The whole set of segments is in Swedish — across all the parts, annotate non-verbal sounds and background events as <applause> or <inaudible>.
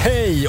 Hej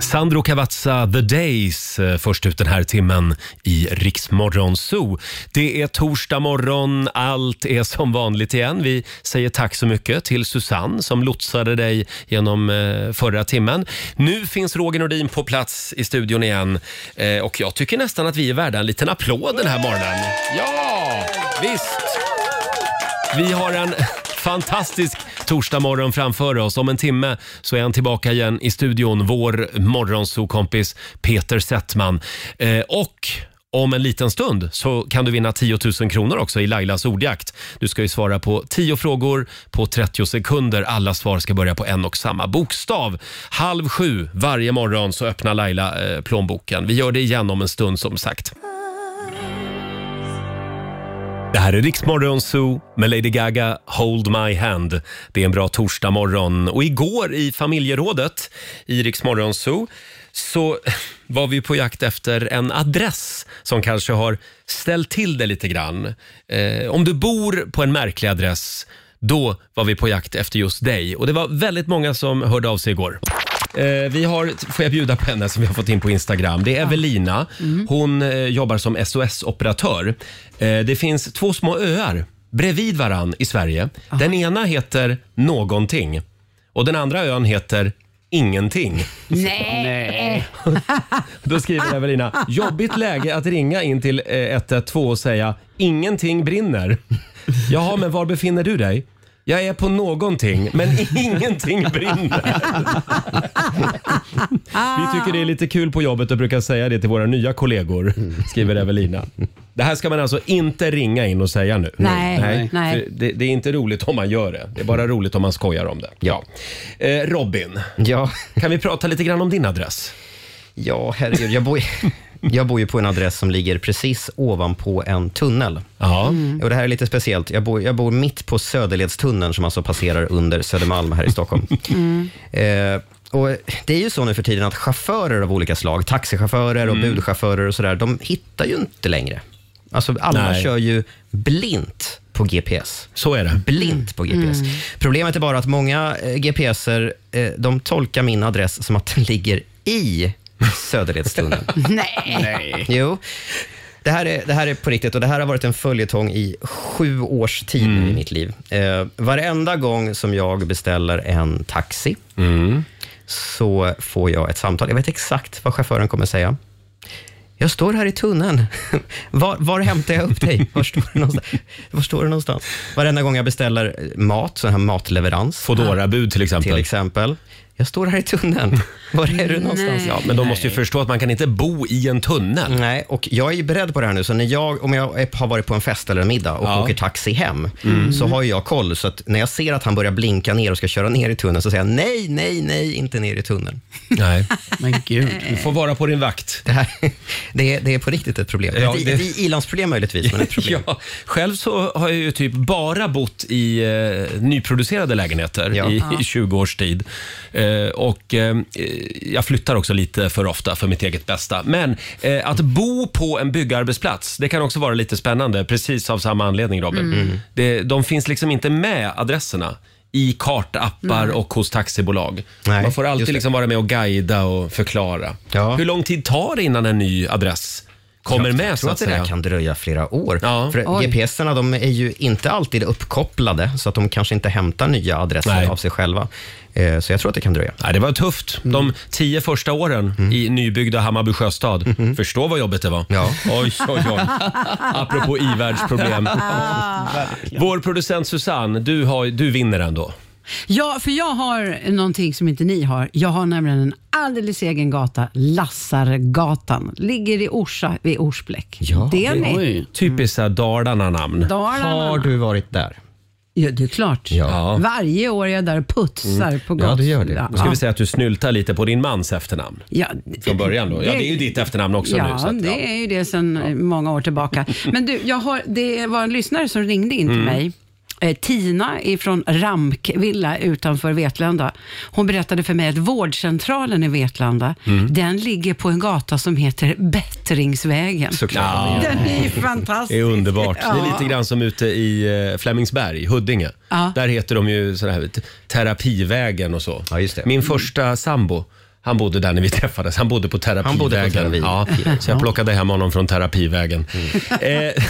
Sandro Cavazza, The Days, eh, först ut den här timmen i Riksmorgon Zoo. Det är torsdag morgon, allt är som vanligt igen. Vi säger tack så mycket till Susanne som lotsade dig genom eh, förra timmen. Nu finns Roger Nordin på plats i studion igen eh, och jag tycker nästan att vi är värda en liten applåd den här morgonen. Ja, visst! Vi har en fantastisk torsdagmorgon framför oss. Om en timme så är han tillbaka igen i studion, vår morgonsokompis Peter Settman. Eh, och om en liten stund så kan du vinna 10 000 kronor också i Lailas ordjakt. Du ska ju svara på 10 frågor på 30 sekunder. Alla svar ska börja på en och samma bokstav. Halv sju varje morgon så öppnar Laila eh, plånboken. Vi gör det igen om en stund som sagt. Det här är Riksmorgon Zoo med Lady Gaga, Hold My Hand. Det är en bra torsdagmorgon. Och igår i familjerådet i Riksmorgon Zoo så <laughs> var vi på jakt efter en adress som kanske har ställt till det lite grann. Eh, om du bor på en märklig adress, då var vi på jakt efter just dig. Och det var väldigt många som hörde av sig igår. Eh, vi har, får jag bjuda på henne som vi har fått in på Instagram. Det är Evelina. Hon eh, jobbar som SOS-operatör. Eh, det finns två små öar bredvid varann i Sverige. Den ena heter någonting och den andra ön heter ingenting. Nej! Då skriver Evelina, jobbigt läge att ringa in till eh, 112 och säga ingenting brinner. Jaha, men var befinner du dig? Jag är på någonting, men <laughs> ingenting brinner. Vi tycker det är lite kul på jobbet och brukar säga det till våra nya kollegor, skriver Evelina. Det här ska man alltså inte ringa in och säga nu. Nej, nej. för Det, det är inte roligt om man gör det. Det är bara roligt om man skojar om det. Ja. Eh, Robin, Ja, kan vi prata lite grann om din adress? ja herregud. Jag bor, jag bor ju <laughs> på en adress som ligger precis ovanpå en tunnel. Ja. Och Det här är lite speciellt. Jag bor, jag bor mitt på Söderledstunneln som alltså passerar under Södermalm här i Stockholm. <laughs> Eh, och Det är ju så nu för tiden att chaufförer av olika slag, taxichaufförer och Mm. budchaufförer och sådär, de hittar ju inte längre. Alltså alla Nej. kör ju blint på GPS. Så är det. blint på GPS. Problemet är bara att många eh, GPSer eh, de tolkar min adress som att den ligger i Söderledstunneln. Nej! jo. Det här, är, det här är på riktigt och det här har varit en följetong i sju års tid nu i mitt liv. Eh, varenda gång som jag beställer en taxi så får jag ett samtal. Jag vet exakt vad chauffören kommer säga. Jag står här i tunneln. <laughs> Var, var hämtar jag upp dig? Var står, du någonstans? var står du någonstans? Varenda gång jag beställer eh, mat, sån här matleverans Foodora-bud till exempel. till exempel. Jag står här i tunneln. <laughs> Var är du någonstans? Ja, Men de måste ju förstå att man kan inte bo i en tunnel. Nej, och jag är ju beredd på det här nu. Så när jag, om jag är- har varit på en fest eller en middag och Ja. Mm. åker taxi hem, så har ju jag koll. Så att när jag ser att han börjar blinka ner och ska köra ner i tunneln, så säger jag nej, nej, nej, inte ner i tunneln. Nej. <laughs> Men gud. Du får vara på din vakt. Det, här, <laughs> det, är, det är på riktigt ett problem. Ja, ett, det- det... ett i-landsproblem möjligtvis, men ett problem. <laughs> Ja, själv så har jag ju typ bara bott i eh, nyproducerade lägenheter Ja. i, <laughs> i 20 års tid. Eh, och eh, jag flyttar också lite för ofta för mitt eget bästa. Men eh, att bo på en byggarbetsplats, det kan också vara lite spännande. Precis av samma anledning Robin. Mm. Det, de finns liksom inte med adresserna i kartappar och hos taxibolag. Nej, Man får just alltid det. liksom vara med och guida och förklara. Ja. Hur lång tid tar det innan en ny adress kommer med? Jag så tror att att det säga? där kan dröja flera år. Ja. För Oj. GPSerna de är ju inte alltid uppkopplade, så att de kanske inte hämtar nya adresser Nej. av sig själva. Eh, Så jag tror att det kan dröja. Nej, det var tufft. De tio första åren i nybyggda Hammarby sjöstad. Förstå vad jobbigt det var. Ja. Oj, oj, oj. Apropå <laughs> ivärldsproblem. Vår producent Susanne, du, har, du vinner ändå. <laughs> Ja, för jag har någonting som inte ni har. Jag har nämligen en alldeles egen gata, Lassargatan. Ligger i Orsa, vid Orsbläck. Ja, det är ni. Oj. Typiskt så här Dalarna-namn. Dalarna. Har du varit där? Ja, det är klart. Ja. Varje år är jag där och putsar på gatan. Mm. det gör det. Ja. Då ska vi säga att du snyltar lite på din mans efternamn. Ja, Från början då. Ja, det är ju ditt efternamn också ja, nu. Så att, det är Mm. ju det sedan eh, många år tillbaka. Men du, jag har, det var en lyssnare som ringde in till mig Eh, Tina ifrån Ramkvilla utanför Vetlanda. Hon berättade för mig att vårdcentralen i Vetlanda, Mm. den ligger på en gata som heter Bättringsvägen. Såklart. Den är ju fantastisk. Det är underbart. Det är Ja. lite grann som ute i eh, Flemingsberg, Huddinge. Ja. Där heter de ju sådär, här, t- terapivägen och så. Min första sambo, han bodde där när vi <laughs> träffades. Han bodde på terapivägen. Han bodde på terapi. ja, så jag plockade hem honom från terapivägen. Mm. Eh,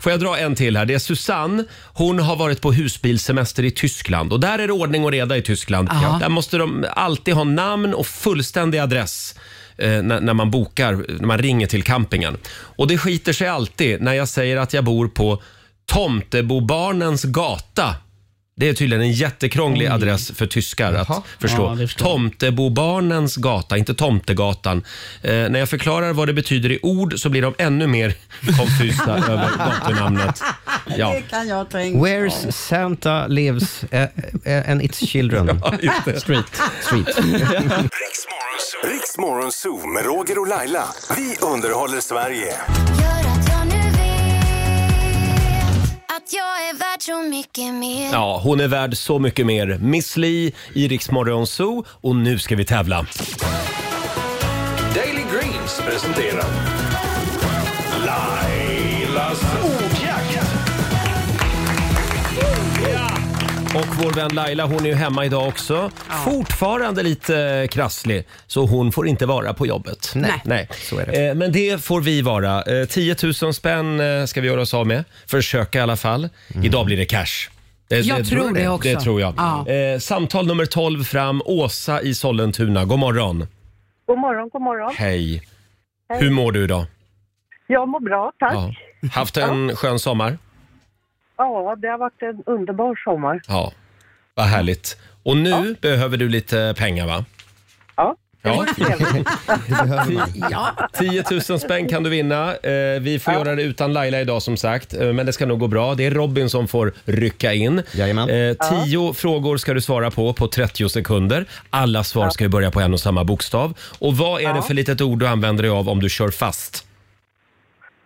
får jag dra en till här? Det är Susanne. Hon har varit på husbilsemester i Tyskland. Och där är det ordning och reda i Tyskland. Ja. Där måste de alltid ha namn och fullständig adress eh, när, när man bokar, när man ringer till campingen. Och det skiter sig alltid när jag säger att jag bor på Tomtebobarnens gata. Det är tydligen en jättekrånglig adress för tyskar att förstå. Ja, det förstår jag. Tomtebobarnens gata, inte Tomtegatan. Eh, när jag förklarar vad det betyder i ord så blir de ännu mer <laughs> konfusa över gatunamnet. Ja. kan jag tänka Where's Santa lives eh, eh, and <laughs> its children. Street. Street. <laughs> Riks Morgonzoo med Roger och Laila. Vi underhåller Sverige. Att jag är värd så mycket mer Ja, hon är värd så mycket mer. Miss Li i Rix Morgon Zoo och nu ska vi tävla. Daily Greens presenterar Lailas ordjakt. Och vår vän Laila, hon är ju hemma idag också. Fortfarande lite krasslig, så hon får inte vara på jobbet. Nej. Nej. Så är det. Eh, Men det får vi vara. Eh, 10 000 spänn eh, ska vi göra oss av med. Försöka i alla fall. Idag blir det cash. Det- Jag tror det också. Det tror jag. Ja. Eh, Samtal nummer 12 fram. Åsa i Sollentuna, god morgon. God morgon, god morgon. Hej. Hej. Hur mår du idag? Jag mår bra, tack. Ja. Ja. Haft en skön sommar? det har varit en underbar sommar. Ja, vad härligt. Och nu behöver du lite pengar va? Ja. Ja. 10 000 spänn kan du vinna. Eh, Vi får göra det utan Laila idag som sagt, Eh, men det ska nog gå bra. Det är Robin som får rycka in. Jajamän. Eh, Tio frågor ska du svara på på 30 sekunder. Alla svar ska ju börja på en och samma bokstav. Och vad är det för litet ord du använder dig av om du kör fast?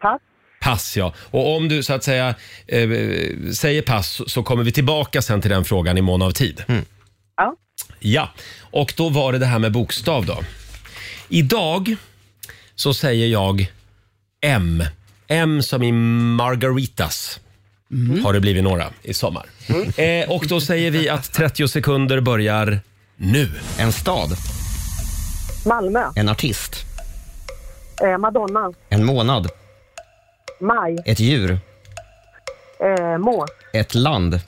Pass. Pass ja. Och om du så att säga eh, säger pass så kommer vi tillbaka sen till den frågan i mån av tid. Ja. Ja, och då var det det här med bokstav då. Idag så säger jag M. M som i Margaritas. Mm. Har det blivit några i sommar. Eh, och då säger vi att 30 sekunder börjar nu. En stad, Malmö, en artist, eh, Madonna, en månad, Maj, ett djur, eh, Mås, ett land, eh,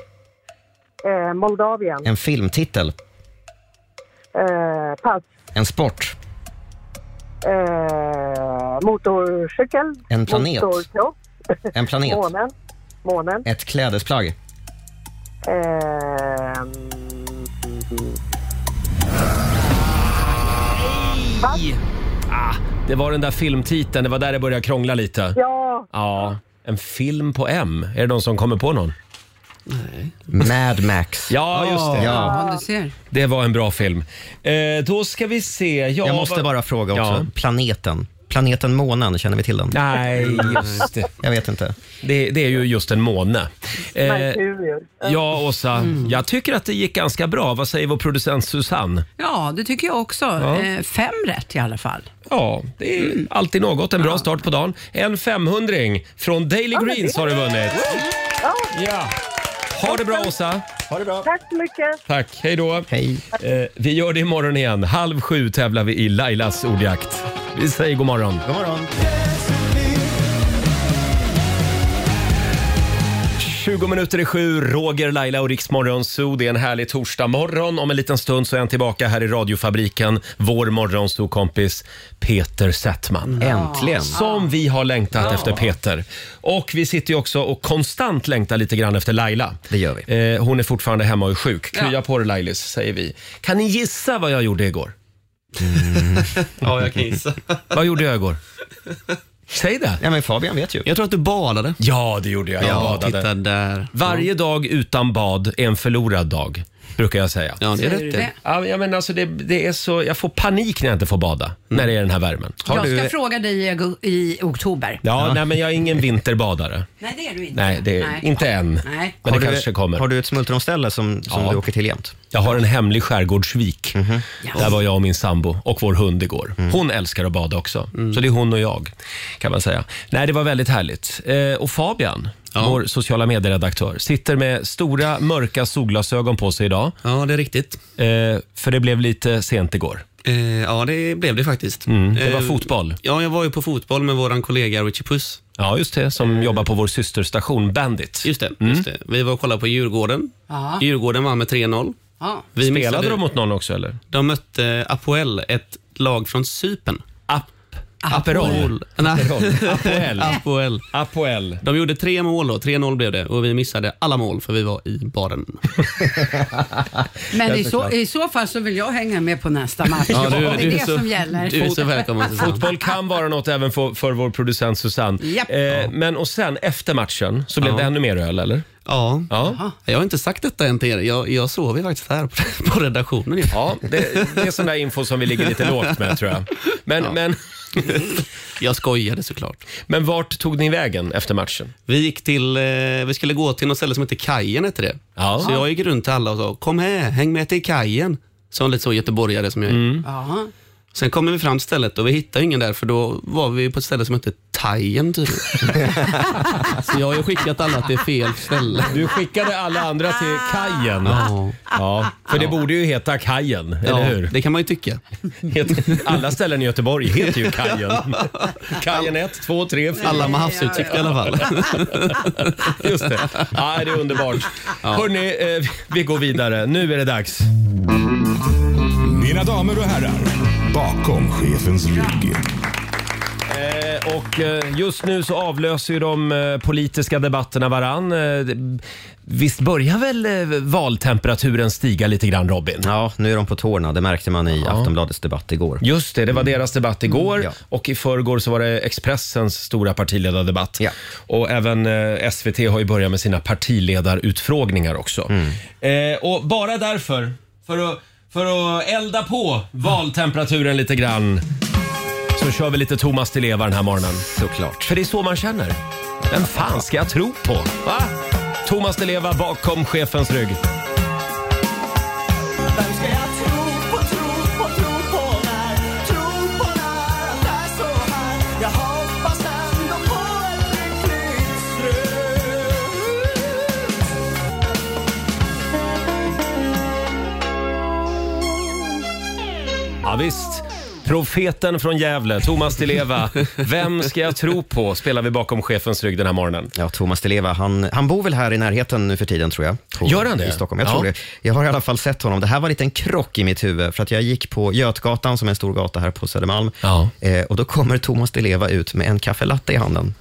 Moldavien, en filmtitel, eh, Pass, en sport, eh, motorcykel, En planet. motorkropp, en planet, <laughs> månen, månen, ett klädesplagg, eh, pass, Ah, det var den där filmtiteln, det var där det började krångla lite. ja, Ja, en film på M. Är det någon som kommer på någon? Mad Max. Ja, just det. Ja. Ja, du ser. Det var en bra film. Eh, då ska vi se. Ja, Jag måste vad- bara fråga också, Ja. planeten. Planeten månen, känner vi till den? Nej, just det. Jag vet inte. det. Det är ju just en måne. Eh, Merkurius. ja, Åsa. Jag tycker att det gick ganska bra. Vad säger vår producent Susanne? Ja, det tycker jag också. Eh, Fem rätt i alla fall. Ja, det är alltid något. En bra start på dagen. En 500 från Daily Greens har du vunnit. Ja. Ha det bra, Åsa. Ha det bra. Tack så mycket. Tack. Hej då. Hej. Eh, vi gör det imorgon igen. Halv sju tävlar vi i Lailas ordjakt. Vi säger god morgon. God morgon. 20 minuter i sju, Roger, Laila och Riksmorgon Zoo. Det är en härlig torsdagmorgon. Om en liten stund så är han tillbaka här i radiofabriken. Vår morgonzoo-kompis Peter Settman. Mm. Äntligen. Som vi har längtat efter Peter. Och vi sitter ju också och konstant längtar lite grann efter Laila. Det gör vi. Eh, hon är fortfarande hemma och är sjuk. Krya Ja. på dig Lailis, säger vi. Kan ni gissa vad jag gjorde igår? Mm. <laughs> Ja, jag kan gissa. Vad gjorde jag igår? Säg det. Ja, men Fabian vet ju. Jag tror att du badade. Ja, det gjorde jag. Jag badade. titta där. Varje dag utan bad är en förlorad dag. brukar jag säga. Ja, det är rätt det. Ja, men jag menar, alltså det, det är så, jag får panik när jag inte får bada, när det är den här värmen. jag ska fråga dig i, agu- i oktober. Ja, nej men jag är ingen vinterbadare. Nej, det är du inte. Nej, det är, inte än. Nej. Men Har det du- kanske kommer. Har du ett smultronställe som, som Ja. du åker till jämt? Mhm. Jag har en hemlig skärgårdsvik. Där Ja. var jag och min sambo och vår hund igår. Mm. Hon älskar att bada också. Så det är hon och jag, kan man säga. Nej, det var väldigt härligt. Eh, och Fabian, vår sociala medieredaktör, sitter med stora mörka solglasögon på sig idag. Ja, det är riktigt. Eh, för det blev lite sent igår. Eh, ja, det blev det faktiskt. Mm. Det var Eh, fotboll. Ja, jag var ju på fotboll med vår kollega Richie Puss. Eh. Ja, just det. Som jobbar på vår systerstation Bandit. Mm. Just det, just det. Vi var och kollade på Djurgården. Ja. Djurgården vann med 3-0. Ja. Vi Spelade missade- de mot någon också, eller? De mötte Apoel, ett lag från Cypern. App. Aperol. Aperol. <laughs> Apoel. Apoel. Apoel. De gjorde tre mål då, 3-0 blev det och vi missade alla mål för vi var i baren. Men i så, i så fall så vill jag hänga med på nästa match. Ja, du- det är du är det så- som gäller. Du är så välkommen Susanne. Fotboll kan vara något även för, för vår producent Susanne. Japp. Eh, men och sen efter matchen så blev det ännu mer öl, eller? Ja. Ja. Jag har inte sagt detta än till er. Jag, jag sover ju faktiskt här på, på redaktionen. Ja, det, det är sån där info som vi ligger lite lågt med tror jag. Men, men, <laughs> Jag skojade såklart. men vart tog ni vägen efter matchen? Vi gick till, eh, vi skulle gå till något ställe som heter Kajen, hette det. Ja. Så jag gick runt till alla och sa, kom här, häng med till Kajen. Sa en lite så göteborgare som jag är. Mm. Ja. Sen kommer vi fram till stället och vi hittar ingen där för då var vi på ett ställe som hette Thaien <laughs> tydligen. så jag har ju skickat alla till fel ställe. Du skickade alla andra till kajen. Ja. Ja, för det borde ju heta kajen, eller Ja, hur? det kan man ju tycka. Het- Alla ställen i Göteborg heter <laughs> ju kajen. Kajen 1, 2, 3, 4. Alla med havsutsikt i alla fall. <laughs> Just det. Ja, det är underbart. Hörni, eh, vi går vidare. Nu är det dags. Mina damer och herrar, bakom chefens rygg. Eh, Och eh, just nu så avlöser ju de eh, politiska debatterna varann. Eh, det- Visst börjar väl eh, valtemperaturen stiga lite grann, Robin? Ja, nu är de på tårna. Det märkte man i Aftonbladets debatt igår. Just det, det var deras debatt igår Mm. ja. och i förrgår så var det Expressens stora partiledardebatt. Ja. Och även eh, SVT har ju börjat med sina partiledarutfrågningar också. Mm. Eh, och bara därför, för att, <laughs> för att elda på valtemperaturen lite grann, så kör vi lite Thomas Di Leva den här morgonen. Såklart. För det är så man känner. Vem fan ska jag tro på? Va? Thomas Di Leva bakom chefens rygg. Ja, visst. Profeten från Gävle, Thomas Di Leva. Vem ska jag tro på? Spelar vi bakom chefens rygg den här morgonen. Ja, Thomas Di Leva, han, han bor väl här i närheten nu för tiden tror jag. På, Gör han det? I Stockholm, jag Ja. tror det. Jag har i alla fall sett honom. Det här var en liten krock i mitt huvud, för att jag gick på Götgatan, som är en stor gata här på Södermalm, Ja. eh, och då kommer Thomas Di Leva ut med en kaffelatte <laughs> i handen.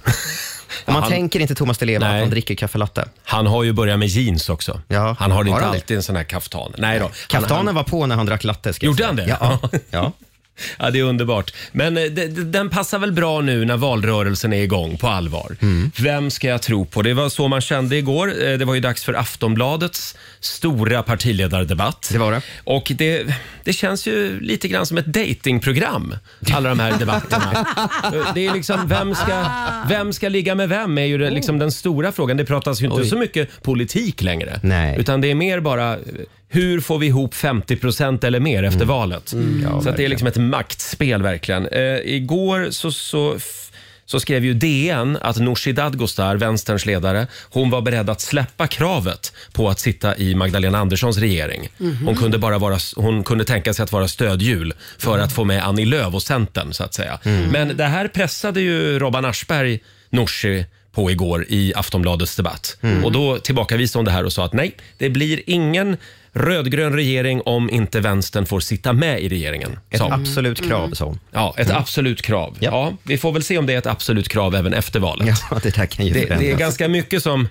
och man Han- tänker inte Thomas Di Leva Nej. att han dricker kaffelatte. Han har ju börjat med jeans också. Ja. Han har, Har inte han det? alltid en sån här kaftan. Nej då. Kaftanen var på när han drack latte. ska jag Gjorde säga. han det? Ja. <laughs> ja. Ja, det är underbart. Men eh, de- de- den passar väl bra nu när valrörelsen är igång på allvar. Vem ska jag tro på? Det var så man kände igår. Eh, Det var ju dags för Aftonbladets stora partiledardebatt. Det var det. Och det, det känns ju lite grann som ett datingprogram alla de här <laughs> debatterna. Eh, det är liksom, vem ska, vem ska ligga med vem? är ju det, liksom den stora frågan. Det pratas ju inte så mycket politik längre. Nej. Utan det är mer bara eh, hur får vi ihop 50 eller mer efter valet? så att det är liksom ett maktspel verkligen. Eh, igår så, så, f- så skrev ju DN att Nooshi Dadgostar, vänsterns ledare, hon var beredd att släppa kravet på att sitta i Magdalena Anderssons regering. Hon, kunde bara vara, hon kunde tänka sig att vara stödhjul för att få med Annie Lööf och Centern så att säga. Mm. Men det här pressade ju Robban Aschberg Nooshi på igår i Aftonbladets debatt. Mm. Och då tillbakavisade hon det här och sa att nej, det blir ingen rödgrön regering om inte vänstern får sitta med i regeringen. Ett sa hon. Mm. absolut krav, sa hon. Mm. Ja, ett absolut krav. Ja. Ja. vi får väl se om det är ett absolut krav även efter valet. Ja, det där kan ju Det, förändras. det är ganska mycket som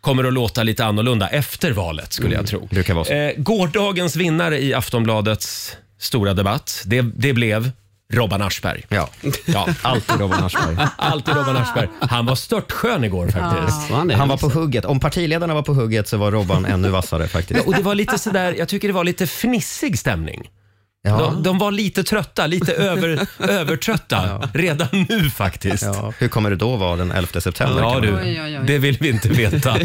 kommer att låta lite annorlunda efter valet skulle jag tro. Mm, brukar vara så. Eh, gårdagens vinnare i Aftonbladets stora debatt, det, det blev Robban Aschberg. Ja. <laughs> alltid Robban Aschberg. Alltid Robban Aschberg. Han var störtskön igår faktiskt. Han var på hugget. Om partiledarna var på hugget så var Robban <laughs> ännu vassare faktiskt. Ja, Och det var lite sådär, jag tycker det var lite fnissig stämning. Ja. De, de var lite trötta, <laughs> lite över, <laughs> övertrötta redan nu faktiskt. Ja, hur kommer det då vara den 11 september? Ja kan du, man- Oj, oj, oj. det vill vi inte <laughs> veta.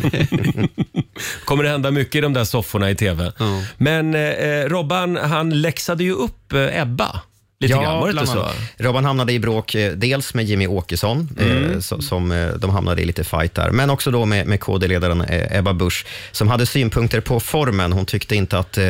kommer det hända mycket i de där sofforna i TV. Men eh, Robban, han läxade ju upp eh, Ebba lite Ja, grann, var det inte bland så? annat. Robban hamnade i bråk eh, dels med Jimmy Åkesson, Mm. eh, so- som eh, de hamnade i lite fight där, men också då med, med KD-ledaren eh, Ebba Busch, som hade synpunkter på formen. Hon tyckte inte att eh,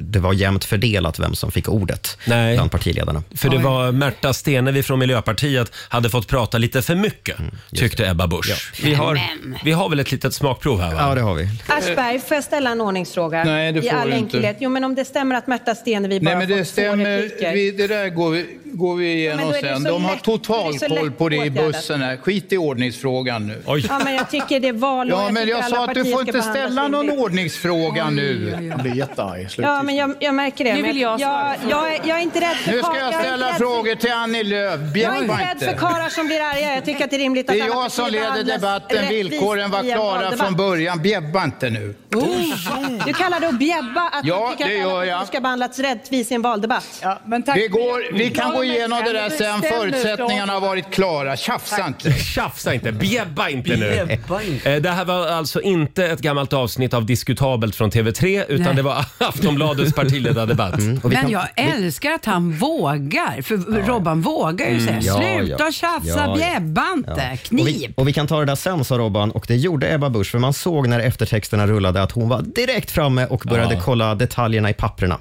det var jämnt fördelat vem som fick ordet Nej. bland partiledarna. För det var Märta Stenevi från Miljöpartiet hade fått prata lite för mycket, Mm, tyckte Ebba Busch. Vi, har, Nämen. vi har väl ett litet smakprov här va? Ja, det har vi. Aschberg, får jag ställa en ordningsfråga? Nej, det I får all du inte. enkelhet. Jo, men om det stämmer att Märta Stenevi bara Nej, men det fått två repliker. stämmer. Vi, det där går vi, går vi då igenom är det sen. så De har lätt- då är det total så koll lätt på det i åtgärdat. bussen här. Skit i ordningsfrågan nu. Ja, men jag tycker det är valår. Ja, men tycker jag alla sa att du partier ska får inte behandlas ställa någon rimligt. ordningsfråga nu. Jag blir jättearg. Ja, men jag, jag märker det. Nu vill jag svara. jag, jag, är- jag är inte rädd för Nu kar- ska jag är inte ställa rädd för- frågor till Annie Lööf. Jag är Bjäbba inte rädd för karlar som blir arga. Jag tycker att det är rimligt att Det är alla jag partier som leder behandlas debatten. rättvist Villkoren var i en klara valdebatt. från början. Bjäbba inte nu. Oh, Du kallar det att bjäbba att Ja, du tycker det att gör alla partier jag. ska behandlas rättvist i en valdebatt. Ja, men Vi, går, vi kan gå igenom det där sen. Förutsättningarna har varit klara. Tjafsa inte. Tjafsa inte, bjäbba inte nu. Bjäbba Eh, Det här var alltså inte ett gammalt avsnitt av Diskutabelt från TV3 utan Nej. det var <laughs> Aftonbladets partiledardebatt. Mm, Men jag älskar att han vågar, för Robban vågar ju Mm, säga ja, ja. sluta tjafsa, Ja, ja. bjäbba inte, kniv. Och vi, och vi kan ta det där sen, sa Robban. Och det gjorde Ebba Busch, för man såg när eftertexterna rullade att hon var direkt framme och började Ja. kolla detaljerna i papperna.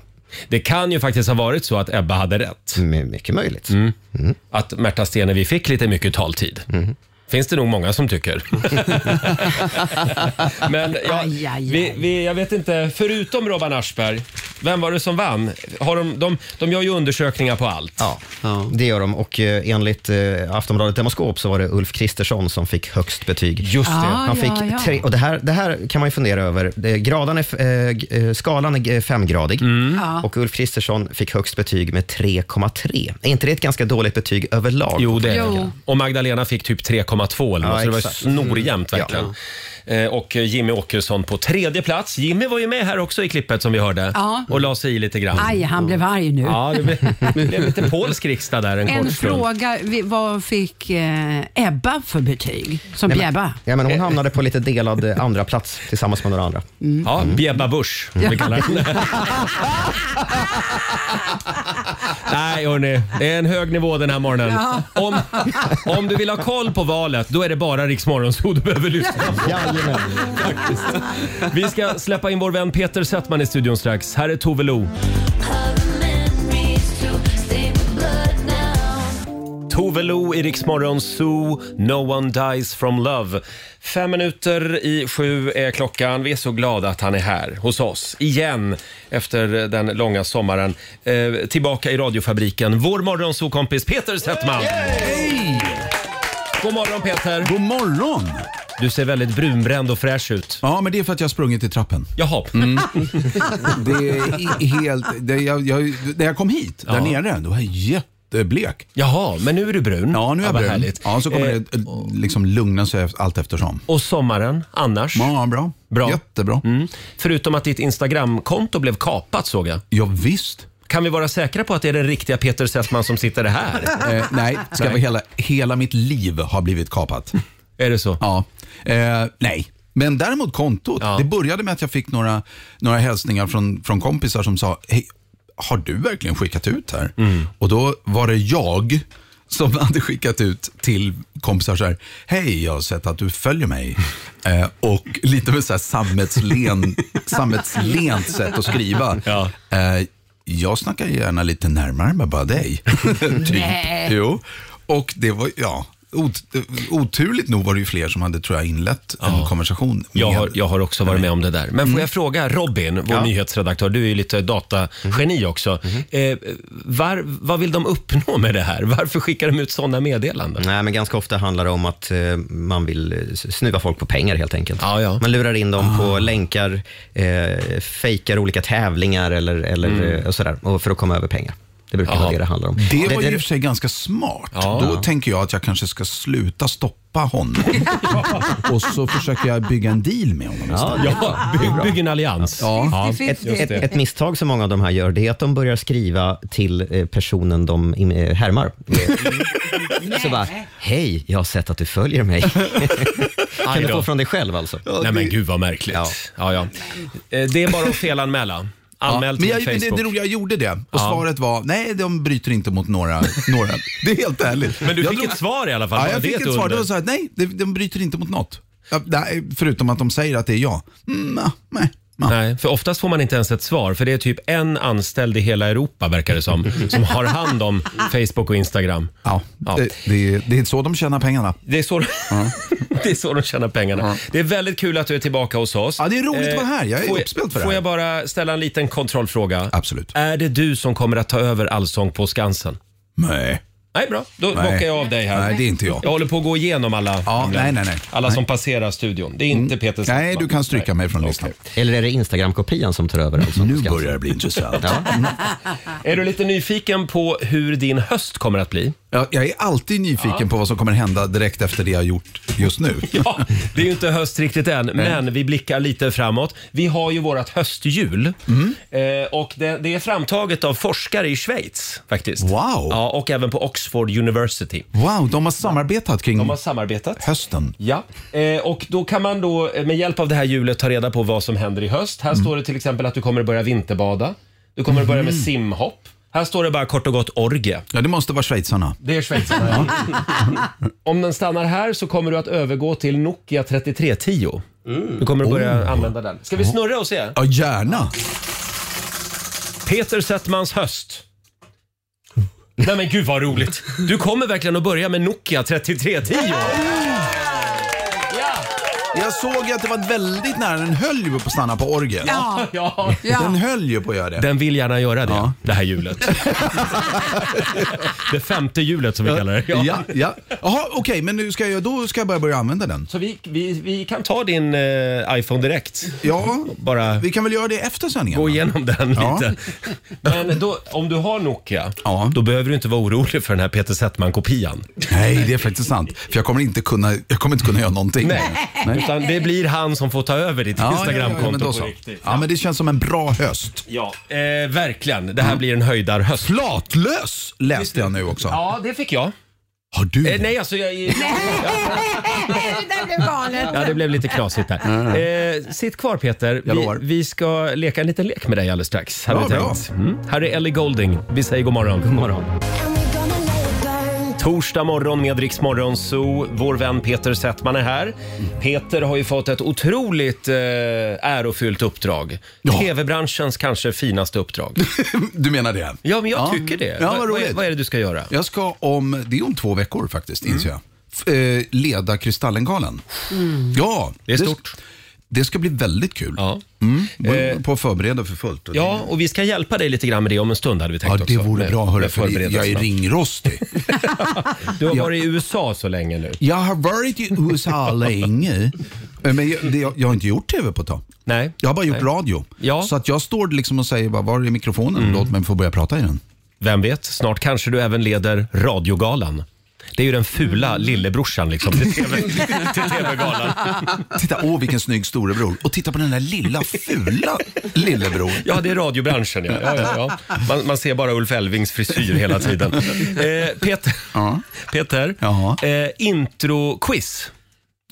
Det kan ju faktiskt ha varit så att Ebba hade rätt. Mm, Mm. Mycket möjligt. Mm. Att Märta Stenevi fick lite mycket taltid. Finns det nog många som tycker. <laughs> Men ja, Vi, vi, jag vet inte, förutom Robban Aschberg, vem var det som vann? Har de, de, de gör ju undersökningar på allt. Ja, det gör de. Och eh, enligt eh, Aftonbladet Demoskop så var det Ulf Kristersson som fick högst betyg. Just det. Ah, Han fick ja, ja. Tre, och det här, det här kan man ju fundera över. Det- Graden är, f- eh, g- eh, skalan är eh, femgradig Mm. Ja. och Ulf Kristersson fick högst betyg med 3,3. Är inte det ett ganska dåligt betyg överlag? Jo, det är det. Jo. Och Magdalena fick typ 3,2 eller något, Ja, så det var exakt. Mm. snorjämnt verkligen. Eh, Och Jimmy Åkesson på tredje plats. Jimmy var ju med här också i klippet som vi hörde Ja. och la sig i lite grann. Aj, han blev arg nu. Ja, det blev, det blev lite polsk riksdag där en, En kort stund. fråga, vi- vad fick eh, Ebba för betyg? Som Nej, men- Bjäbba? Ja, men hon hamnade på lite delad eh, andra plats tillsammans med några andra. Mm. Mm. Ja, Bjebba Busch, som vi kallar henne. Nej, hörni. Det är en hög nivå den här morgonen. Ja. Om, om du vill ha koll på valet, då är det bara Rix Morgonzoo du behöver lyssna på. Jajamän. Vi ska släppa in vår vän Peter Settman i studion strax. Här är Tove Lo. Tove Lo i Rix Morgon Zoo, No One Dies From Love. Fem minuter i sju är klockan. Vi är så glada att han är här hos oss igen efter den långa sommaren. Eh, tillbaka i radiofabriken, vår morgonzoo-kompis Peter Settman. Hej! God morgon Peter! God morgon! Du ser väldigt brunbränd och fräsch ut. Ja, men det är för att jag har sprungit i trappen. Mm. Jaha. <laughs> Det är i- helt... Det, jag, jag, när jag kom hit, där Ja. nere, då var jag jätteblek. Jaha, men nu är du brun. Ja, nu är Ja, jag vad brun. härligt. Ja, så kommer Eh, det eh, liksom lugna sig efter- allt eftersom. Och sommaren annars? Ja, bra. bra. Jättebra. Mm. Förutom att ditt Instagramkonto blev kapat såg jag. Ja, visst. Kan vi vara säkra på att det är den riktiga Peter Settman som sitter här? <laughs> Eh, nej, ska vara hela, hela mitt liv har blivit kapat. <laughs> Är det så? Ja. Eh, nej. Men däremot kontot. Ja. Det började med att jag fick några, några hälsningar från, från kompisar som sa, Hej, har du verkligen skickat ut här? Mm. Och då var det jag som <laughs> hade skickat ut till kompisar så här, hej jag har sett att du <laughs> följer mig. Eh, och lite med så här sammetslen, sammetslent sätt att skriva. Eh, jag snackar gärna lite närmare med bara dig. <laughs> typ. Nej. Jo. Och det var, ja. Ot, oturligt nog var det ju fler som hade tror jag inlett en konversation. Med, Jag har, jag har också varit med om det där. Men får jag fråga Robin, vår Mm. Ja. Mm. nyhetsredaktör, du är ju lite datageni också. Mm-hmm. Eh, var, vad vill de uppnå med det här? Varför skickar de ut sådana <laughs> meddelanden? <laughs> Nej, men ganska ofta handlar det om att eh, man vill eh, snuva folk på pengar helt enkelt. Man lurar in dem Ah. på Mm. länkar, eh, fejkar olika tävlingar eller, eller eh, och sådär, och för att komma över pengar. Det brukar vara det det handlar om. Det var ju i och för sig ganska smart. Ja. Då tänker jag att jag kanske ska sluta stoppa honom. och så försöker jag bygga en deal med honom Ja, istället. ja, bygg- bygg en allians. Ja. Ett, ett, ett misstag som många av de här gör det är att de börjar skriva till eh, personen de im- eh, härmar. Eh, Så bara, hej, jag har sett att du följer mig. kan du då. få från dig själv alltså? Nej men gud vad märkligt. Ja. Ja, Eh, Det är <laughs> bara att felanmäla. Anmäl men till jag, men Facebook. det, det roliga, jag gjorde det och Ja. svaret var nej, de bryter inte mot några. några. Det är helt ärligt. Men du jag fick ett svar i alla fall. Ja, Var jag det fick ett ett svar. under? Det var så här, nej, de, de bryter inte mot något. Ja, nej, förutom att de säger att det är jag. Mm, ja, nej. Nej, för oftast får man inte ens ett svar. För det är typ en anställd i hela Europa, verkar det som, som har hand om Facebook och Instagram. Ja, Det, det, det är så de tjänar pengarna. Det är så, <laughs> det är så de tjänar pengarna. Det är väldigt kul att du är tillbaka hos oss. Eh, Ja, det är roligt att vara här. Jag är får uppspelt för det Får här. jag bara ställa en liten kontrollfråga? Absolut. Är det du som kommer att ta över Allsång på Skansen? Nej. Nej, bra. Då Nej. bockar jag av dig här. Nej, det är inte jag. Jag håller på att gå igenom alla gamla. nej, nej, nej. Mm. Alla som passerar studion. Det är inte Peter Settman. <laughs> Nej, du kan stryka mig från listan. Eller är det Instagram-kopian som tar över? Alltså, nu börjar det bli intressant. Är du lite nyfiken på hur din höst kommer att bli? Jag, jag är alltid nyfiken Ja. på vad som kommer hända direkt efter det jag har gjort just nu. <laughs> Ja, det är ju inte höst riktigt än, men vi blickar lite framåt. Vi har ju vårt hösthjul eh, och det, det är framtaget av forskare i Schweiz faktiskt. Wow! Ja, och även på Oxford University. Wow, de har samarbetat kring De har samarbetat. hösten. Ja, eh, och då kan man då eh, med hjälp av det här hjulet ta reda på vad som händer i höst. Här står det till exempel att du kommer att börja vinterbada. Du kommer att börja med Mm. simhopp. Här står det bara kort och gott orgie. Ja, det måste vara schweizarna. Det är schweizarna. ja. Om den stannar här så kommer du att övergå till Nokia 3310. Du kommer att börja Oh. använda den. Ska vi snurra och se? Ja, gärna. Peter Settmans höst. Nej men gud vad roligt. Du kommer verkligen att börja med Nokia 3310. Jag såg ju att det var väldigt nära. Den höll ju på att stanna på orgeln. Ja. <laughs> Ja. Den höll ju på att göra det. Den vill gärna göra det, det här hjulet. det femte hjulet som vi kallar det. Ja, ja. Jaha, okej, men nu ska jag, då ska jag börja, börja använda den. Så vi, vi, vi kan ta din eh, iPhone direkt. Ja, Bara vi kan väl göra det efter sändningen. gå igenom den Ja. lite. Men då, om du har Nokia, då behöver du inte vara orolig för den här Peter Settman-kopian. Nej, det är faktiskt sant. För jag kommer inte kunna, jag kommer inte kunna göra någonting. Nej. Utan det blir han som får ta över ditt ja, men Instagramkonto då på så. riktigt. Ja, men det känns som en bra höst. Ja, eh, verkligen. Det här blir en höjdarhöst. Mm. Flatlös läste jag nu också. Ja, det fick jag. Har du eh, Nej, alltså jag... Det där blev <laughs> galet. Ja, det blev lite knasigt där. Eh, sitt kvar Peter. Vi, vi ska leka en liten lek med dig alldeles strax. Hade Ja, vi bra. tänkt. Mm. Här är Ellie Golding. Vi säger god morgon. God morgon. Torsdag morgon med Rix Morgon Zoo. Vår vän Peter Settman är här. Peter har ju fått ett otroligt eh, ärofyllt uppdrag. TV-branschens kanske finaste uppdrag. <laughs> Du menar det? Ja, men jag tycker det. Ja, Vad- vad vad är- roligt. vad är det du ska göra? Mm. Jag ska om, det är om två veckor faktiskt, inser jag. F- eh, leda Kristallengalan. Ja, Det är s- stort. Det ska bli väldigt kul. Ja. Eh. Mm, börjar på att förbereda för fullt. Ja, och vi ska hjälpa dig lite grann med det om en stund hade vi tänkt Ja, det också, vore med- bra hörru, med för jag är förberedelserna. ringrostig. <laughs> <laughs> Du har Ja. varit i USA så länge nu. Jag har varit i <laughs> USA länge, Eh, men jag, det, jag, jag har inte gjort TV på ett tag. Nej. Jag har bara gjort Nej. radio. Ja. Mm. Så att jag står liksom och säger bara, var är mikrofonen? Låt mig få börja prata <laughs> i den. Vem vet, snart kanske du även leder radiogalan. Det är ju den fula lillebrorsan liksom till <laughs> TV till TV-galan. Titta, åh vilken snygg storebror. Och titta på den där lilla fula lillebror. Ja, det är radiobranschen. Ja. Ja, ja, ja. Man, man ser bara Ulf Elvings frisyr hela tiden. Eh, Peter, Peter eh, intro-quiz. Eh,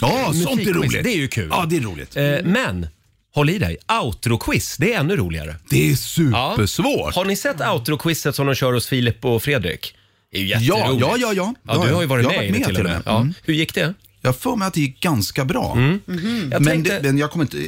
Ja, sånt är Musikquiz, roligt. Det är ju kul. Ja, det är roligt. Eh, men, håll i dig, outro-quiz, det är ännu roligare. Det är supersvårt. Har ni sett outro-quizet som de kör hos Filip och Fredrik? Det är ju Ja, jätteroligt. ja, ja, ja. ja du har ju varit Jag har med i varit det med till och med. Ja. Mm. Hur gick det? Jag har för mig att det gick ganska bra. Jag men, tänkte- det, men jag kommer inte... Ja,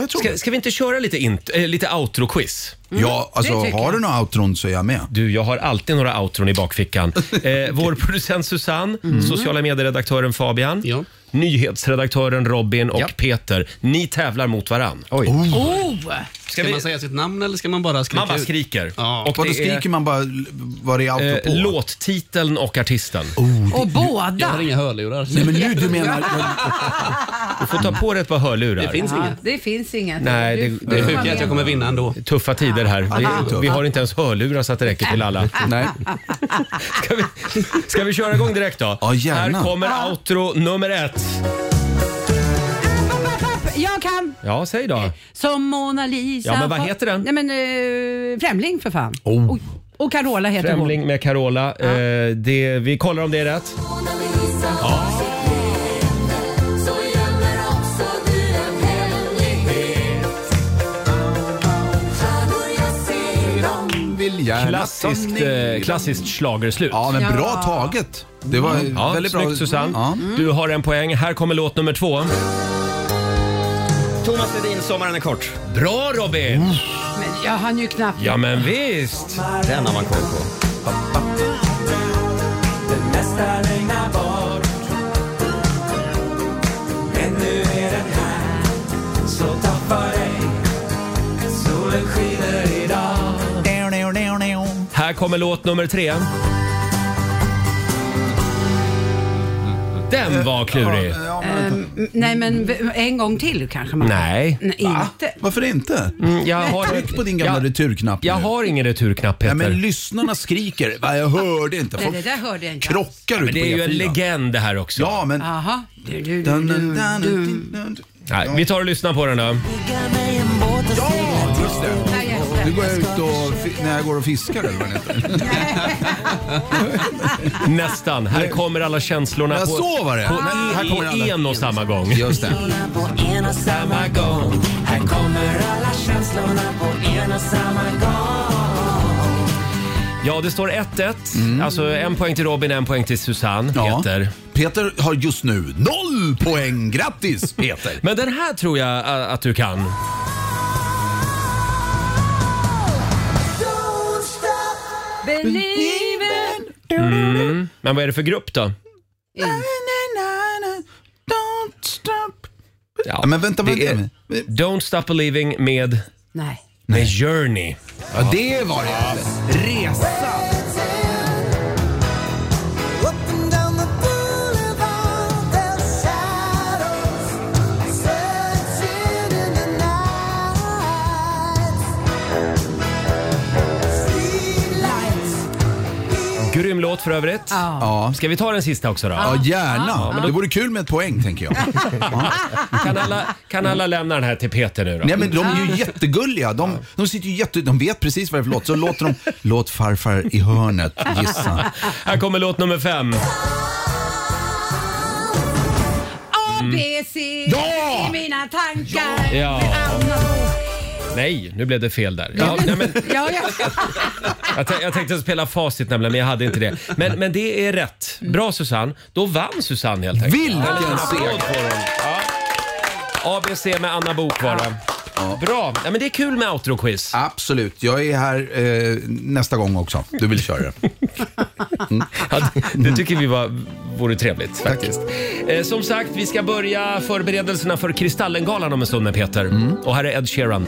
jag tror Ska, det. ska vi inte köra lite, int- eh, lite outro-quiz? Mm. Ja, alltså har du några outron så är jag med. Du, jag har alltid några outron i bakfickan. Eh, vår producent Susanne, sociala medieredaktören Fabian, nyhetsredaktören Robin och Peter. Ni tävlar mot varann. Oj. Oh! Ska, man säga sitt namn eller ska man bara skrika Man bara ut? skriker. Ja. Och Vadå det är- skriker man bara vad det är outro Eh, på? låttiteln och artisten. Oh. Och båda. Jag har inga hörlurar. Nej, men nu du <laughs> menar... Du får ta på dig ett par hörlurar. Det finns inget. Det finns inget. Nej, Du- det, du får vara att jag med. kommer vinna ändå. Tuffa tider här. Vi, Ja. vi har inte ens hörlurar så att det räcker till alla. Nej. Ska, vi, ska vi köra igång direkt då? Ja, gärna. Här kommer outro nummer ett. Jag kan. Ja, säg då. Som Mona Lisa. Ja, men vad heter den? Nej, men, eh, främling för fan. Oh. Och Carola heter Främling med Carola. Eh, det, vi kollar om det är rätt. Ja. Klassiskt, eh, klassiskt schlagerslut. Ja, men bra Ja. taget. Det var Mm. ja, väldigt bra. snyggt, Susanne. Ja. Du har en poäng. Här kommer låt nummer två. Thomas Ledin, Sommaren är kort. Bra Robin! Mm. hon. Men jag hann ju knappt. Ja men visst! Den har man koll på. Här kommer låt nummer tre. Den var Eh, klurig. Ehm, nej, men v- en gång till kanske man Nej. Mm, Nej, inte. Varför inte? jag har- Tryck på din gamla jag- returknapp Jag har ingen returknapp Peter. Ja, men lyssnarna skriker. Va, jag hörde inte. Nej, det Folk där hörde jag inte. krockar Men ute det på är ju en E4. legend det här också. Ja, men... Jaha. Du, du, du, Dun, du, dun, dun, du. Nej, vi tar och lyssnar på den då. Ja, just det. Där jäklar. Nu går jag ut och... fi- När jag går och fiskar eller vad det heter. Nästan. Här kommer alla känslorna Ja, på, så var det. på, Nej, här kommer i alla. en och samma gång. Just det. Ja, det står 1-1. Mm. Alltså en poäng till Robin, en poäng till Susanne. Peter. Peter har just nu noll poäng. Grattis Peter! <laughs> Men den här tror jag ä, att du kan. Believer. Mm. Men vad är det för grupp då? Ja, men vänta, vad det är är Don't Stop Believing med, Nej. med Journey. Ja, det var det. Resa. Grym låt för övrigt. Ja. Ska vi ta den sista också då? Ja, gärna. Ja, men Det då vore kul med ett poäng tänker jag. kan, alla, kan alla lämna den här till Peter nu då? Nej men de är Ah. ju jättegulliga. De, de sitter ju jätte... De vet precis vad det är för låt. Så låter de... <laughs> Låt farfar i hörnet gissa. Här kommer låt nummer fem. A, B, C Mm. Ja! i mina tankar. Ja. Anna Bok. Nej, nu blev det fel där. Ja, nej, men, Ja, ja. jag, tän- jag tänkte spela facit nämligen, men jag hade inte det. Men, men det är rätt. Bra Susanne. Då vann Susanne helt enkelt. Vilken seger! ABC med Anna Bok var det. Bra. Ja, men det är kul med outro-quiz. Absolut. Jag är här eh, nästa gång också. Du vill köra Mm. det. Ja, det- det tycker vi var, vore trevligt faktiskt. Eh, som sagt, vi ska börja förberedelserna för Kristallengalan om en stund med Peter. Mm. Och här är Ed Sheeran.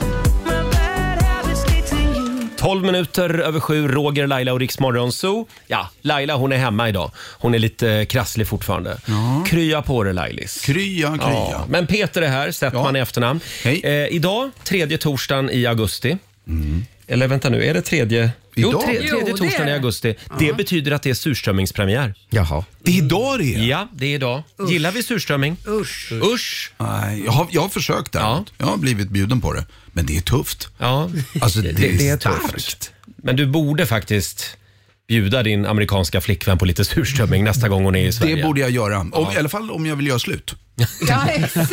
12 minuter över sju, Roger, Laila och Riksmorgon Zoo. Ja, Laila hon är hemma idag. Hon är lite krasslig fortfarande. Krya på dig Lailis. Krya, krya. Ja, men Peter är här, Settman i efternamn. Eh, idag, tredje torsdagen i augusti. Mm. Eller vänta nu, är det tredje? Jo, Idag? tre, Jo, tredje det torsdagen är i det. augusti. Det betyder att det är surströmmingspremiär. Jaha. Det är idag det är. Ja, det är idag. Gillar vi surströmming? Usch. Usch! Nej, jag, har, jag har försökt det. Jag har blivit bjuden på det. Men det är tufft. Ja, Alltså det, är, det är starkt. Men du borde faktiskt bjuda din amerikanska flickvän på lite surströmming nästa gång hon är i Sverige. Det borde jag göra. Om, I alla fall om jag vill göra slut. ja, exakt.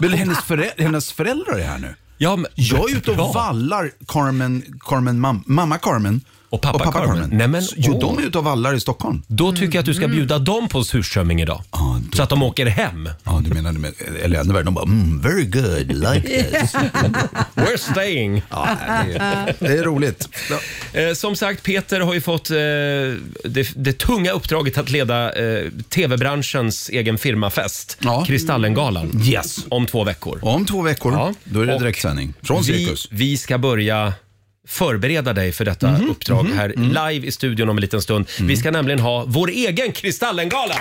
Men hennes, förä, hennes föräldrar är här nu. Ja, men, Jag är ute och Bra. vallar Carmen, Carmen mam, mamma Carmen Och pappa Carmen. Nej, men, Så- jo, åh. de är ute och vallar i Stockholm. Då tycker jag att du Mm. ska bjuda dem på surströmming idag. Så att de åker hem. Ja, du menar, du menar eller ännu värre, de bara mm, “very good, <laughs> like this”. We're staying! Ja, det, är, det är roligt. Ja. Eh, som sagt, Peter har ju fått eh, det, det tunga uppdraget att leda eh, tv-branschens egen firmafest, Ja. Kristallengalan, Yes. om två veckor. Om två veckor, Ja. då är det Och direktsändning från vi, Cirkus. vi ska börja förbereda dig för detta Mhm. uppdrag här Mm. live i studion om en liten stund. Vi ska nämligen ha vår egen Kristallengala!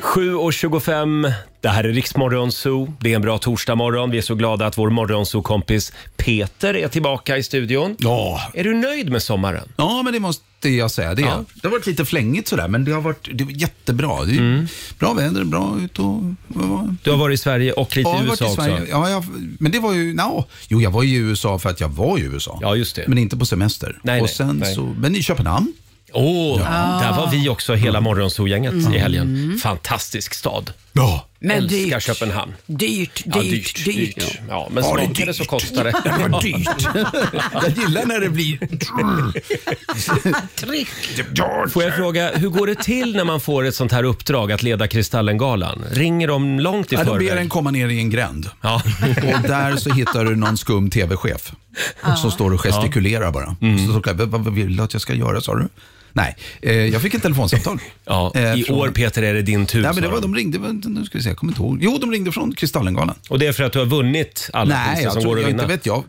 Sju och 25. Det här är Riksmorgon Zoo. Det är en bra torsdagmorgon. Vi är så glada att vår morgonzoo-kompis Peter är tillbaka i studion. Ja. Är du nöjd med sommaren? Ja, men det måste jag säga. Det, <laughs> är Ja. jag. det har varit lite flängigt sådär, men det har varit det var jättebra. Det är Bra väder, bra ut och... Mm. Du har varit i Sverige och lite Ja, i jag har USA varit i Sverige. också. Ja, jag, men det var ju... No. Jo, jag var ju i USA för att jag var i USA. Ja, just det. Men inte på semester. Nej, och nej, sen nej. Så, men i Köpenhamn. Åh, Ja. där <laughs> var vi också, hela morgonzoo-gänget i helgen. Mm. Fantastisk stad. Ja. Men Men Älskar dyrt. Köpenhamn. Dyrt, dyrt, Ja, dyrt. Ja, men Var det smakade så kostar det. Det var dyrt. <laughs> Jag gillar när det blir... Trick. Får jag fråga, hur går det till när man får ett sånt här uppdrag att leda Kristallengalan? Ringer de långt i Ja, de förväg? ber en komma ner i en gränd. Ja. Och där så hittar du någon skum TV-chef som står och gestikulerar bara. Mm. Så Så, vad, vad vill du att jag ska göra, sa du? Nej, eh, jag fick ett telefonsamtal. Eh, Ja, I år Peter är det din tur. Nej, men det sa var, de. de ringde, vänta, nu ska vi se, jag kommer inte ihåg. Jo, de ringde från Kristallengalan. Och det är för att du har vunnit alla Nej, priser jag som tror- går att jag vinna? inte vet jag.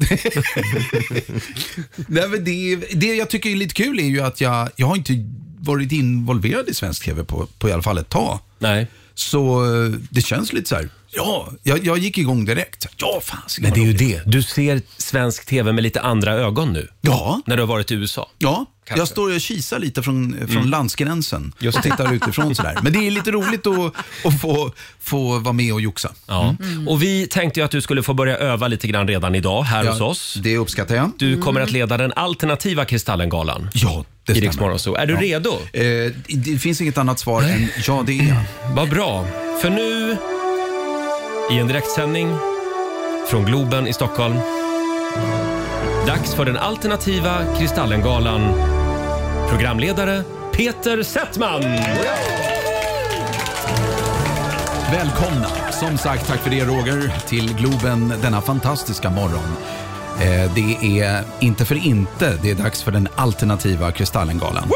<laughs> Nej, men det, det jag tycker är lite kul är ju att jag, jag har inte varit involverad i svensk TV på, på i alla fall ett tag. Nej. Så eh, det känns lite så här, ja, jag, jag gick igång direkt. Ja, fan. ska Men jag det är ju det. Du ser svensk TV med lite andra ögon nu. Ja. När du har varit i USA. Ja, Kanske. jag står och kisar lite från, från Mm. landsgränsen Just och det. tittar utifrån sådär. Men det är lite roligt att, att få, få vara med och joxa. Ja. Mm. Mm. Och vi tänkte ju att du skulle få börja öva lite grann redan idag här Ja, hos oss. Det uppskattar jag. Du kommer att leda den alternativa Kristallengalan. Ja, det I Rix Morgon Zoo. Är du Ja. redo? Eh, det finns inget annat svar än ja, det är jag. <clears throat> Vad bra. För nu, i en direktsändning från Globen i Stockholm. Dags för den alternativa Kristallengalan. Programledare Peter Settman! Välkomna! Som sagt, tack för det Roger, till Globen denna fantastiska morgon. Eh, det är inte för inte det är dags för den alternativa Kristallengalan.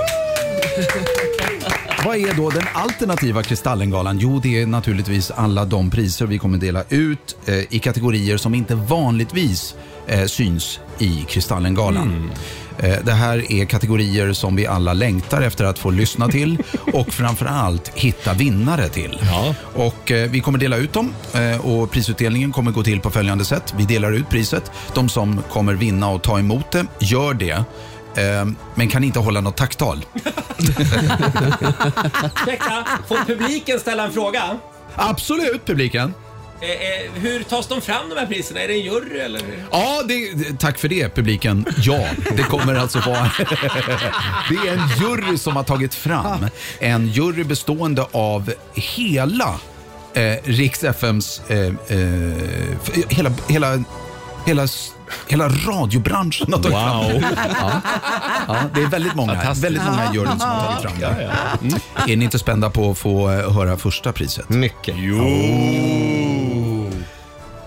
Vad är då den alternativa Kristallengalan? Jo, det är naturligtvis alla de priser vi kommer dela ut eh, i kategorier som inte vanligtvis eh, syns i Kristallengalan. Eh, det här är kategorier som vi alla längtar efter att få lyssna till och framförallt hitta vinnare till. Och eh, Vi kommer dela ut dem eh, och prisutdelningen kommer gå till på följande sätt. Vi delar ut priset. De som kommer vinna och ta emot det gör det, eh, men kan inte hålla något tacktal. Ursäkta, får publiken ställa en fråga? Absolut, publiken. Eh, eh, hur tas de fram de här priserna? Är det en jury eller? Ja, det, tack för det publiken. Ja, det kommer alltså vara... <laughs> Det är en jury som har tagit fram. En jury bestående av hela eh, Rix FMs... Eh, eh, f- hela, hela, hela, s- hela radiobranschen har tagit Wow. fram. <laughs> Ja. Ja, det är väldigt många, här. väldigt många i juryn som har tagit fram det. här. Mm. Är ni inte spända på att få eh, höra första priset? Mycket. Jo.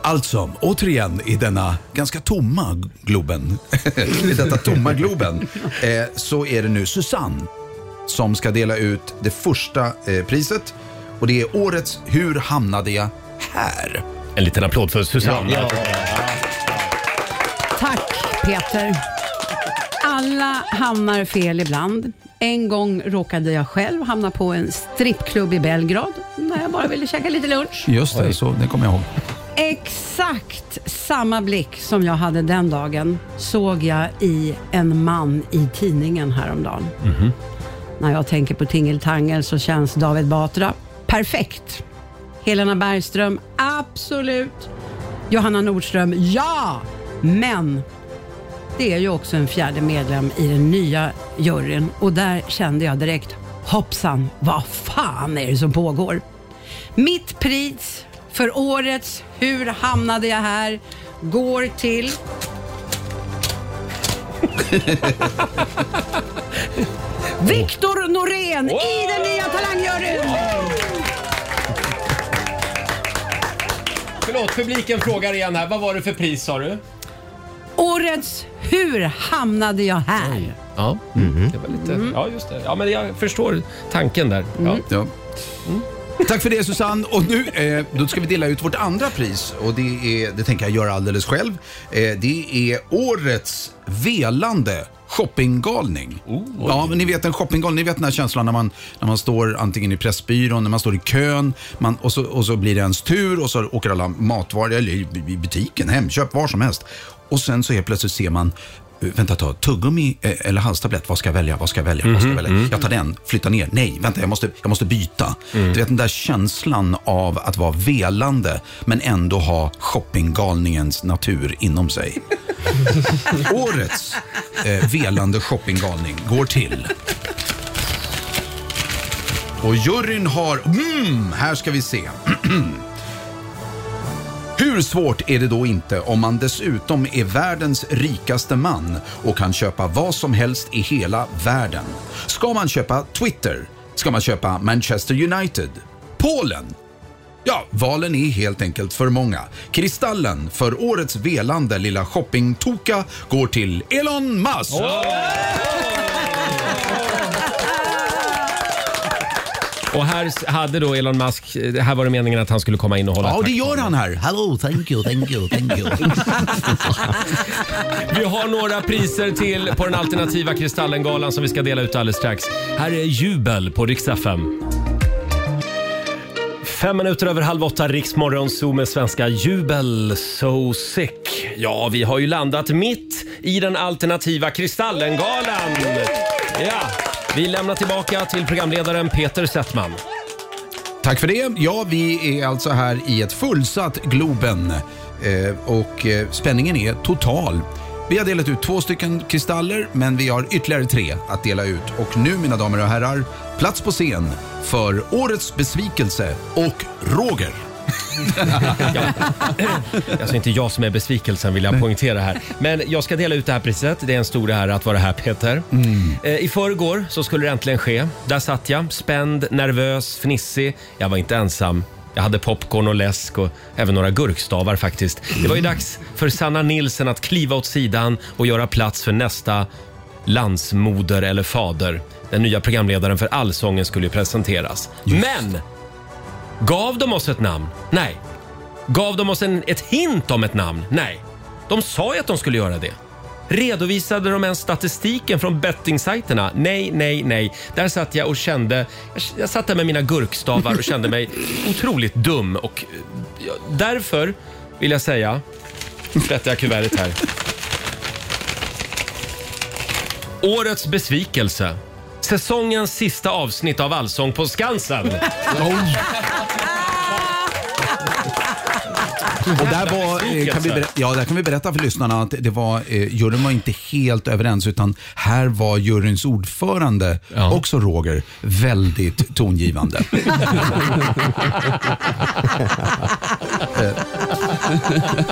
Alltså, återigen i denna ganska tomma Globen, <laughs> i detta tomma Globen, eh, så är det nu Susanne som ska dela ut det första eh, priset. Och det är årets Hur hamnade jag här? En liten applåd för Susanne. Ja, Tack Peter. Alla hamnar fel ibland. En gång råkade jag själv hamna på en strippklubb i Belgrad när jag bara ville käka lite lunch. Just det, så, det kommer jag ihåg. Exakt samma blick som jag hade den dagen såg jag i en man i tidningen häromdagen. När jag tänker på Tingeltangel så känns David Batra perfekt. Helena Bergström, absolut. Johanna Nordström, ja! Men det är ju också en fjärde medlem i den nya juryn och där kände jag direkt, hoppsan, vad fan är det som pågår? Mitt pris för årets Hur hamnade jag här? går till... Viktor Norén i den nya talangjuryn! Förlåt, publiken frågar igen här. Vad var det för pris sa du? Årets Hur hamnade jag här? Ja, Mm-hmm. det var lite... Ja, just det. Ja, men jag förstår tanken där. Ja. Ja. Mm. Tack för det Susanne. Och nu eh, då ska vi dela ut vårt andra pris och det, är, det tänker jag göra alldeles själv. Eh, det är årets velande shoppinggalning. Ja, men ni vet en shoppinggalning, ni vet den här känslan när man, när man står antingen i Pressbyrån, när man står i kön man, och, så, och så blir det ens tur och så åker alla matvaror, eller i, i butiken, Hemköp, var som helst. Och sen så helt plötsligt ser man eh, Vänta ett tag, tuggummi eh, eller halstablett, vad ska jag välja? Vad ska jag välja? Vad ska jag, Mhm, välja? mm. jag tar den, flyttar ner. Nej, vänta, jag måste, jag måste byta. Mm. Du vet den där känslan av att vara velande men ändå ha shoppinggalningens natur inom sig. Årets eh, <laughs> velande shoppinggalning går till... Och juryn har... Mm, här ska vi se. <clears throat> Hur svårt är det då inte om man dessutom är världens rikaste man och kan köpa vad som helst i hela världen? Ska man köpa Twitter? Ska man köpa Manchester United? Polen? Ja, valen är helt enkelt för många. Kristallen för årets velande lilla shoppingtoka går till Elon Musk! Och här hade då Elon Musk, här var det meningen att han skulle komma in och hålla Ja, ett det tack. gör han här. Hello, thank you, thank you, thank you. Vi har några priser till på den alternativa Kristallengalan som vi ska dela ut alldeles strax. Här är Jubel på riksdag 5. Fem minuter över halv åtta, Riksmorgon Zoo med svenska Jubel So Sick. Ja, vi har ju landat mitt i den alternativa Kristallengalan. Ja, vi lämnar tillbaka till programledaren Peter Settman. <laughs> Tack för det. Ja, vi är alltså här i ett fullsatt Globen eh, och eh, spänningen är total. Vi har delat ut två stycken kristaller, men vi har ytterligare tre att dela ut. Och nu, mina damer och herrar, plats på scen för årets besvikelse och Roger. Alltså inte jag som är besvikelsen vill jag poängtera här. Men jag ska dela ut det här priset. Det är en stor ära att vara här Peter. Mm. Eh, I förrgår så skulle det äntligen ske. Där satt jag, spänd, nervös, fnissig. Jag var inte ensam. Jag hade popcorn och läsk och även några gurkstavar faktiskt. Det var ju dags för Sanna Nilsson att kliva åt sidan och göra plats för nästa landsmoder eller fader. Den nya programledaren för Allsången skulle ju presenteras. Men! Gav de oss ett namn? Nej. Gav de oss en, ett hint om ett namn? Nej. De sa ju att de skulle göra det. Redovisade de ens statistiken från bettingsajterna? Nej, nej, nej. Där satt jag och kände... jag- Jag satt där med mina gurkstavar och kände mig otroligt dum. Och eh, jag- därför vill jag säga... Rättar jag kuvertet här. Årets besvikelse. Säsongens sista avsnitt av Allsång på Skansen. Och där var, eh, kan vi alltså. berätta, ja, där kan vi berätta för lyssnarna att det var, eh, juryn var inte helt överens utan här var juryns ordförande, också Roger, väldigt tongivande. Eh,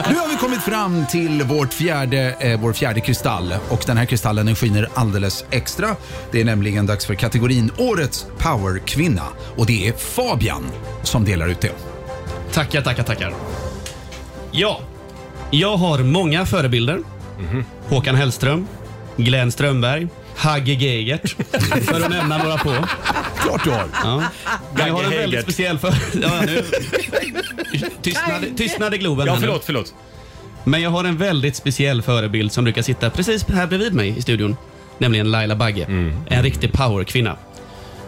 nu har vi kommit fram till vårt fjärde, eh, vår fjärde kristall och den här kristallen den skiner alldeles extra. Det är nämligen dags för kategorin Årets powerkvinna och det är Fabian som delar ut det. Tackar, tackar, tackar. Ja, jag har många förebilder. Mhm. Håkan Hellström, Glenn Strömberg, Hagge <laughs> Geigert, för att nämna några få. Klart du har. Ja. Men Jag har en Hagge väldigt Geigert. speciell för... Ja, nu. Tystnad, tystnad i Globen. Ja, här nu. förlåt, förlåt. Men jag har en väldigt speciell förebild som brukar sitta precis här bredvid mig i studion. Nämligen Laila Bagge. Mm. En riktig powerkvinna.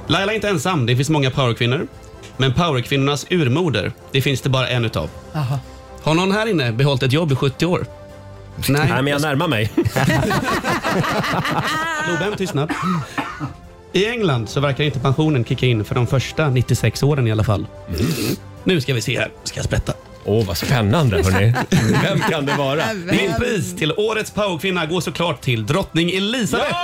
Laila är inte ensam, det finns många powerkvinnor. Men powerkvinnornas urmoder, det finns det bara en utav. Jaha. Har någon här inne behållit ett jobb i 70 år? Nej, men jag <laughs> närmar mig. Globen, tystnad. I England så verkar inte pensionen kicka in för de första 96 åren i alla fall. Nu ska vi se här. Ska jag sprätta? Mm. Åh, vad spännande hörni. Vem kan det vara? Min pris till årets powerkvinna går såklart till drottning Elisabeth.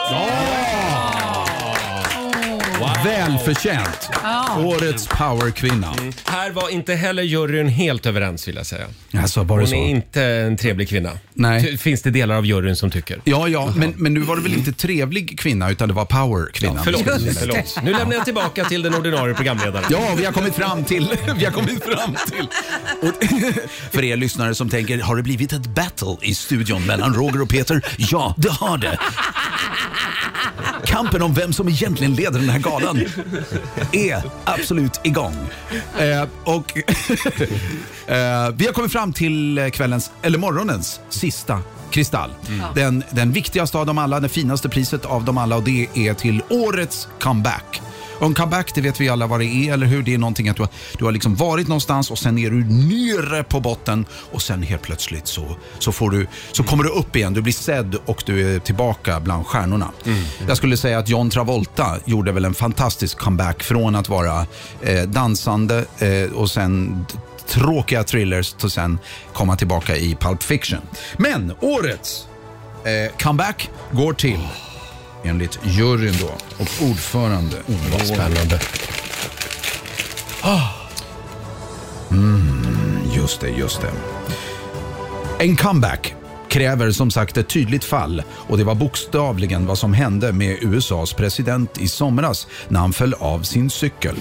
Välförtjänt. Ja. Årets powerkvinna. Mm. Här var inte heller juryn helt överens vill jag säga. Alltså, var det Hon så? är inte en trevlig kvinna. Nej. Ty- Finns det delar av juryn som tycker. Ja, ja, men, men nu var det väl inte trevlig kvinna utan det var powerkvinnan. Ja, förlåt, förlåt. Nu lämnar jag tillbaka till den ordinarie programledaren. Ja, vi har kommit fram till... <laughs> Vi har kommit fram till. Och, för er lyssnare som tänker, har det blivit ett battle i studion mellan Roger och Peter? Ja, det har det. Kampen om vem som egentligen leder den här galan är absolut igång. Eh, och <laughs> eh, vi har kommit fram till kvällens, eller morgonens, sista kristall. Mm. Ja. Den, den viktigaste av dem alla, det finaste priset av dem alla och det är till årets comeback. Och en comeback, det vet vi alla vad det är, eller hur? Det är någonting att du har, du har liksom varit någonstans och sen är du nere på botten och sen helt plötsligt så, så, får du, så kommer du upp igen. Du blir sedd och du är tillbaka bland stjärnorna. Jag skulle säga att John Travolta gjorde väl en fantastisk comeback från att vara eh, dansande eh, och sen t- tråkiga thrillers till sen komma tillbaka i Pulp Fiction. Men årets eh, comeback går till enligt juryn då och ordförande. Oh, vad spännande. Ah. Mm, just det, just det. En comeback kräver som sagt ett tydligt fall och det var bokstavligen vad som hände med USAs president i somras när han föll av sin cykel.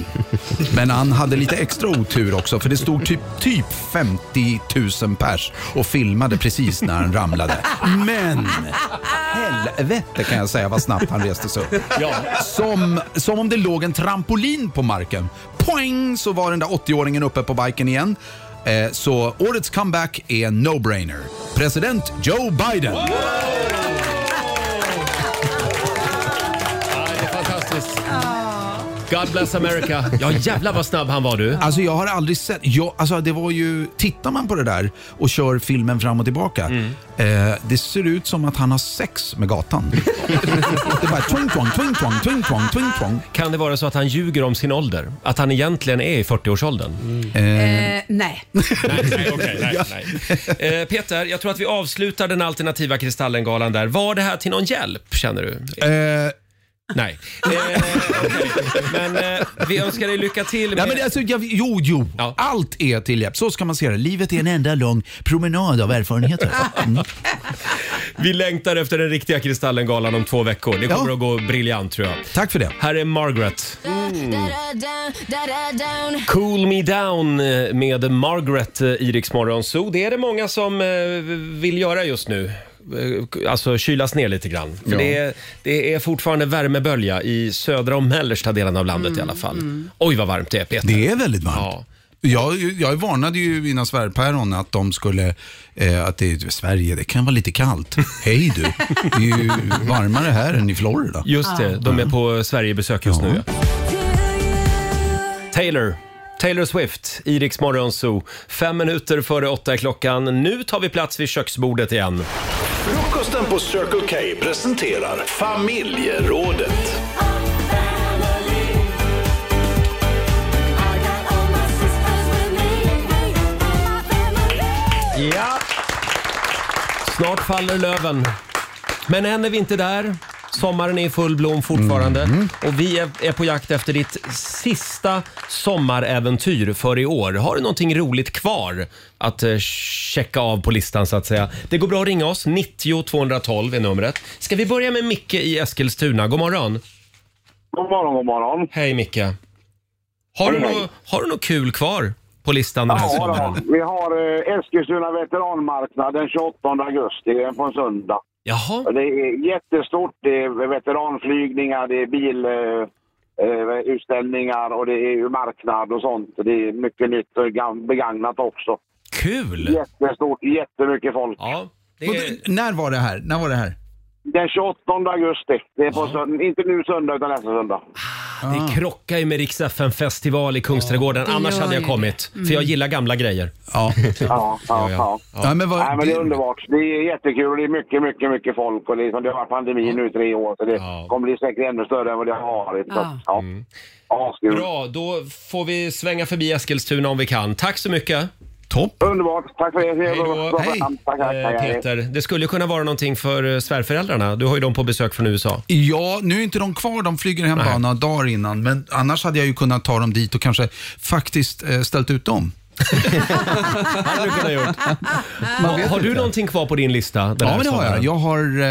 Men han hade lite extra otur också för det stod typ, typ 50 000 pers och filmade precis när han ramlade. Men helvete kan jag säga vad snabbt han <laughs> reste sig upp. Som, som om det låg en trampolin på marken. Poäng så var den där 80-åringen uppe på biken igen. Eh, Så årets comeback är en no-brainer. President Joe Biden. Fantastiskt. God bless America. Ja, jävlar vad snabb han var du. Alltså jag har aldrig sett, jag, alltså det var ju, tittar man på det där och kör filmen fram och tillbaka. Mm. Eh, det ser ut som att han har sex <laughs> med gatan. det är bara twing twang, twing twang, twing twang, twing twang. Kan det vara så att han ljuger om sin ålder? Att han egentligen är i 40-årsåldern? Eh, nej. Nej, okej, Mm. nej, nej. <laughs> Eh, Peter, jag tror att vi avslutar den alternativa Kristallengalan där. Var det här till någon hjälp, känner du? Eh, Nej. <laughs> Eh, okej. Men eh, vi önskar dig lycka till med... Nej, men alltså, jag, jo, jo. Allt är till hjälp. Så ska man se det. Livet är en enda lång promenad <laughs> av erfarenheter. Mm. Vi längtar efter den riktiga Kristallengalan om två veckor. Det kommer att gå briljant tror jag. Tack för det. Här är Margaret. Cool Me Down eh, med Margaret eh, i Rix Morgon Zoo. Det är det många som eh, vill göra just nu. Eh, Alltså kylas ner lite grann. För Ja. det, är, det är fortfarande värmebölja i södra och mellersta delen av landet i alla fall. Oj vad varmt det är Peter. Mm. Det är väldigt varmt. Jag, jag varnade ju innan svärpäron att de skulle, eh, att det är Sverige, det kan vara lite kallt. Hej du, det är ju varmare här än i Florida. Just det, de är på Sverigebesök just nu. Taylor. Taylor Swift, Iriks morgonzoo. Fem minuter före åtta är klockan. Nu tar vi plats vid köksbordet igen. Frukosten på Circle K presenterar familjerådet. Ja. Snart faller löven. Men än är vi inte där. Sommaren är i full blom fortfarande. Och vi är, är på jakt efter ditt sista sommaräventyr för i år. Har du någonting roligt kvar att eh, checka av på listan så att säga? Det går bra att ringa oss. 90 212 är numret. Ska vi börja med Micke i Eskilstuna? God morgon. God morgon, god morgon. Hej Micke. Har, du, Hej, nå- har du något kul kvar på listan den här Ja, sommaren? då. vi har eh, Eskilstuna veteranmarknad den 28 augusti, det är på en söndag. Jaha. Och Det är jättestort, det är veteranflygningar, det är bilutställningar och det är ju marknad och sånt. Det är mycket nytt och gam- begagnat också. Kul! Jättestort, jättemycket folk. Ja, Och det- När var det här? När var det här? Den 28 augusti, det är på söndag, inte nu söndag utan nästa söndag. Det krockar ju med Rix festival i Kungsträdgården. Ah. Ja, det Annars gör hade jag det. kommit. Mm. För jag gillar gamla grejer. <laughs> Ja, ja, ja. ja. Nej, men men det är underbart. Det är jättekul och det är mycket, mycket, mycket folk. Och det, är som det har varit pandemi nu i tre år så det kommer bli säkert ännu större än vad det har varit. Så, Ja. att, ja. Askul. Bra, då får vi svänga förbi Eskilstuna om vi kan. Tack så mycket. Topp. Underbart. Tack för det. Hej då. Hej. Tack, tack, tack, Eh, hej. Peter, det skulle kunna vara någonting för eh, svärföräldrarna. Du har ju dem på besök <laughs> från USA. Ja, nu är inte de kvar. De flyger hem bara några dagar innan. Men annars hade jag ju kunnat ta dem dit och kanske faktiskt eh, ställt ut dem. hade du kunnat gjort. Man vet har du inte. någonting kvar på din lista? den Ja, här men det har jag. sommaren? Jag har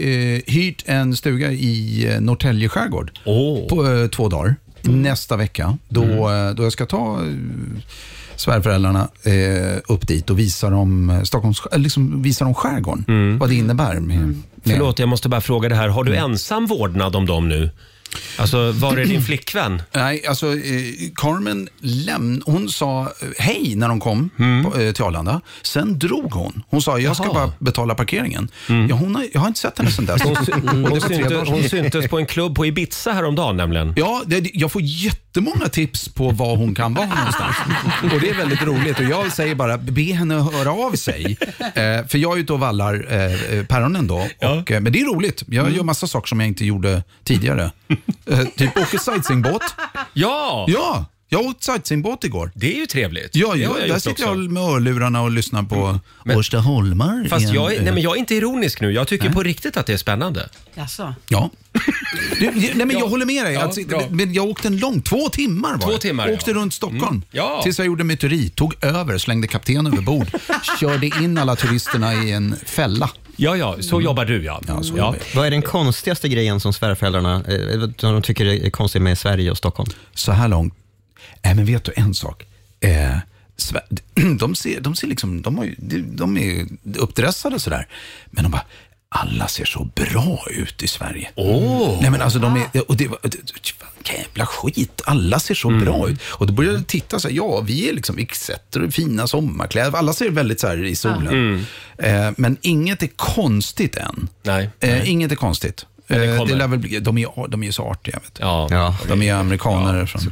eh, eh, hyrt en stuga i eh, Norrtälje skärgård Mm. Mm. på eh, två dagar. Nästa vecka då, eh, då jag ska ta eh, svärföräldrarna eh, upp dit och visar dem, eh, Stockholms, eller liksom visar dem skärgården. Vad det innebär. Med, med. Mm. Förlåt, jag måste bara fråga det här. Har Mm. du ensam vårdnad om dem nu? Alltså, <clears throat> var är din flickvän? Nej, alltså eh, Carmen lämn, hon sa eh, hej när de kom på, eh, till Arlanda. Sen drog hon. Hon sa, jag ska Mm. Jaha. Mm. bara betala parkeringen. Ja, hon har, jag har inte sett henne sen dess. Hon, sy- Alltså, mm. Och det var hon, tre dagar syntes, sedan. <laughs> hon syntes på en klubb på Ibiza häromdagen nämligen. Ja, det, jag får jättemånga tips på var hon kan vara någonstans. Och det är väldigt roligt. Och jag säger bara, be henne höra av sig. Eh, för jag är ute och vallar eh, eh, päronen då. Och, eh, men det är roligt. Jag Mm. gör massa saker som jag inte gjorde tidigare. Eh, typ åker sightseeingbåt. Ja! Ja! Jag åt sightseeingbåt igår. Det är ju trevligt. Ja, Det jag, har jag där gjort sitter också. jag med örlurarna och lyssnar på Årsta Holmar. Fast igen. jag, är- nej, men jag är inte ironisk nu. Jag tycker på riktigt att det är spännande. Jaså? Ja. Du, nej, men jag håller med dig. Alltså, men jag åkte en lång, två timmar var Två det. timmar, Åkte ja. runt Stockholm. Mm. Ja. Tills jag gjorde myteri, tog över, slängde kapten <laughs> över bord, körde in alla turisterna i en fälla. Mm. Ja, ja, så jobbar du ja. så Ja. jobbar jag. Vad är den konstigaste grejen som svärföräldrarna eh, vad de tycker är konstig med Sverige och Stockholm? Så här långt. Nej, men vet du en sak? Eh, Sve- <clears throat> de ser, de ser liksom, de, har ju, de är uppdressade sådär. Men de bara, alla ser så bra ut i Sverige. Åh. Nej men alltså de är, och det var, det- jävla skit, alla ser så Mm. bra ut. Och då började jag titta så här, ja vi är liksom, vi sätter fina sommarkläder, alla ser väldigt så här i Ah. solen. Mm. Eh, men inget är konstigt än. Nej. Eh, inget är konstigt. Men det Eh, kommer. det lär väl bli, de är de är ju så artiga. Vet du. Ja. De är ju amerikaner. från, så.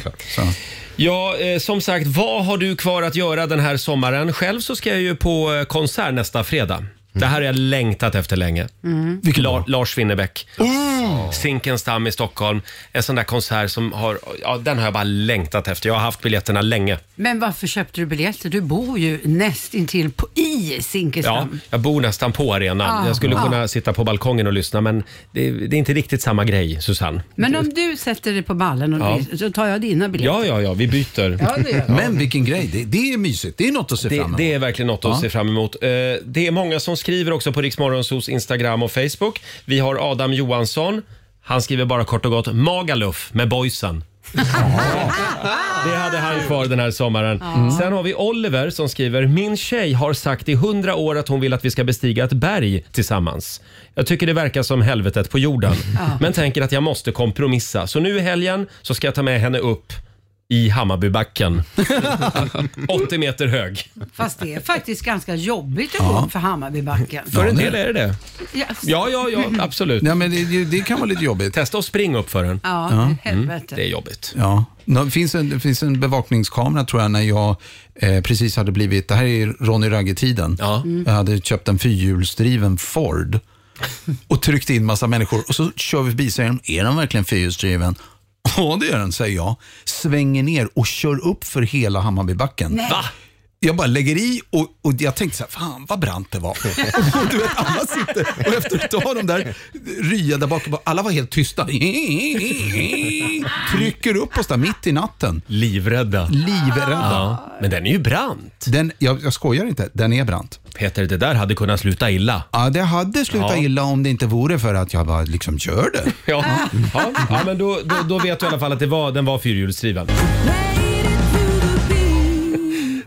Ja, eh, som sagt, vad har du kvar att göra den här sommaren? Själv så ska jag ju på eh, konsert nästa fredag. Det här har jag längtat efter länge. Mm. La- Lars Winnerbäck. Oh! Zinkensdamm i Stockholm. En sån där konsert som har, ja, den har jag bara längtat efter. Jag har haft biljetterna länge. Men varför köpte du biljetter? Du bor ju nästintill på, i Ja, Zinkensdamm. jag bor nästan på arenan. Ah. Jag skulle Ah. kunna sitta på balkongen och lyssna men det, det är inte riktigt samma grej, Susanne. Men om du sätter dig på ballen och Ja. blir- så tar jag dina biljetter. Ja, ja, ja, vi byter. Ja, det gör vi. Men vilken grej, det, det är mysigt. Det är något att se fram emot. Det är verkligen något att Ja. se fram emot. Eh, Det är många som skriver också på Riksmorgonsos Instagram och Facebook. Vi har Adam Johansson. Han skriver bara kort och gott Magaluf med boysen. Det hade han kvar den här sommaren. Sen har vi Oliver som skriver Min tjej har sagt i hundra år att hon vill att vi ska bestiga ett berg tillsammans. Jag tycker det verkar som helvetet på jorden. Ja. Men tänker att jag måste kompromissa. Så nu i helgen så ska jag ta med henne upp i Hammarbybacken. 80 meter hög. Fast det är faktiskt ganska jobbigt att Ja. gå upp för Hammarbybacken. För en del är det det. Yes. Ja, ja, ja, absolut. Nej, men det, kan vara lite jobbigt. Mm. Testa att springa upp för den. Ja, helvete. Det är jobbigt. Ja. Nå, Det finns, en, det finns en bevakningskamera tror jag när jag eh, precis hade blivit, det här är Ronny Ragge-tiden. Mm. Jag hade köpt en fyrhjulsdriven Ford och tryckt in massa människor och så kör vi förbi och säger de, är den verkligen fyrhjulsdriven? <laughs> Ja det är den, säger jag. Svänger ner och kör upp för hela Hammarbybacken. Nej. Va? Jag bara lägger i och, och jag tänkte så här, fan vad brant det var. <laughs> och <laughs> du vet, alla sitter och efter ett tag de där rya där bak, alla var helt tysta. Trycker upp oss där mitt i natten. Livrädda. Livrädda. Men den är ju brant. Den, jag, jag skojar inte, den är brant. Peter, det där hade kunnat sluta illa. Ja, det hade slutat Ja. illa om det inte vore för att jag bara liksom Eh, körde. Ja, ja, ja men då, då, då vet du i alla fall att det var, den var fyrhjulsdriven.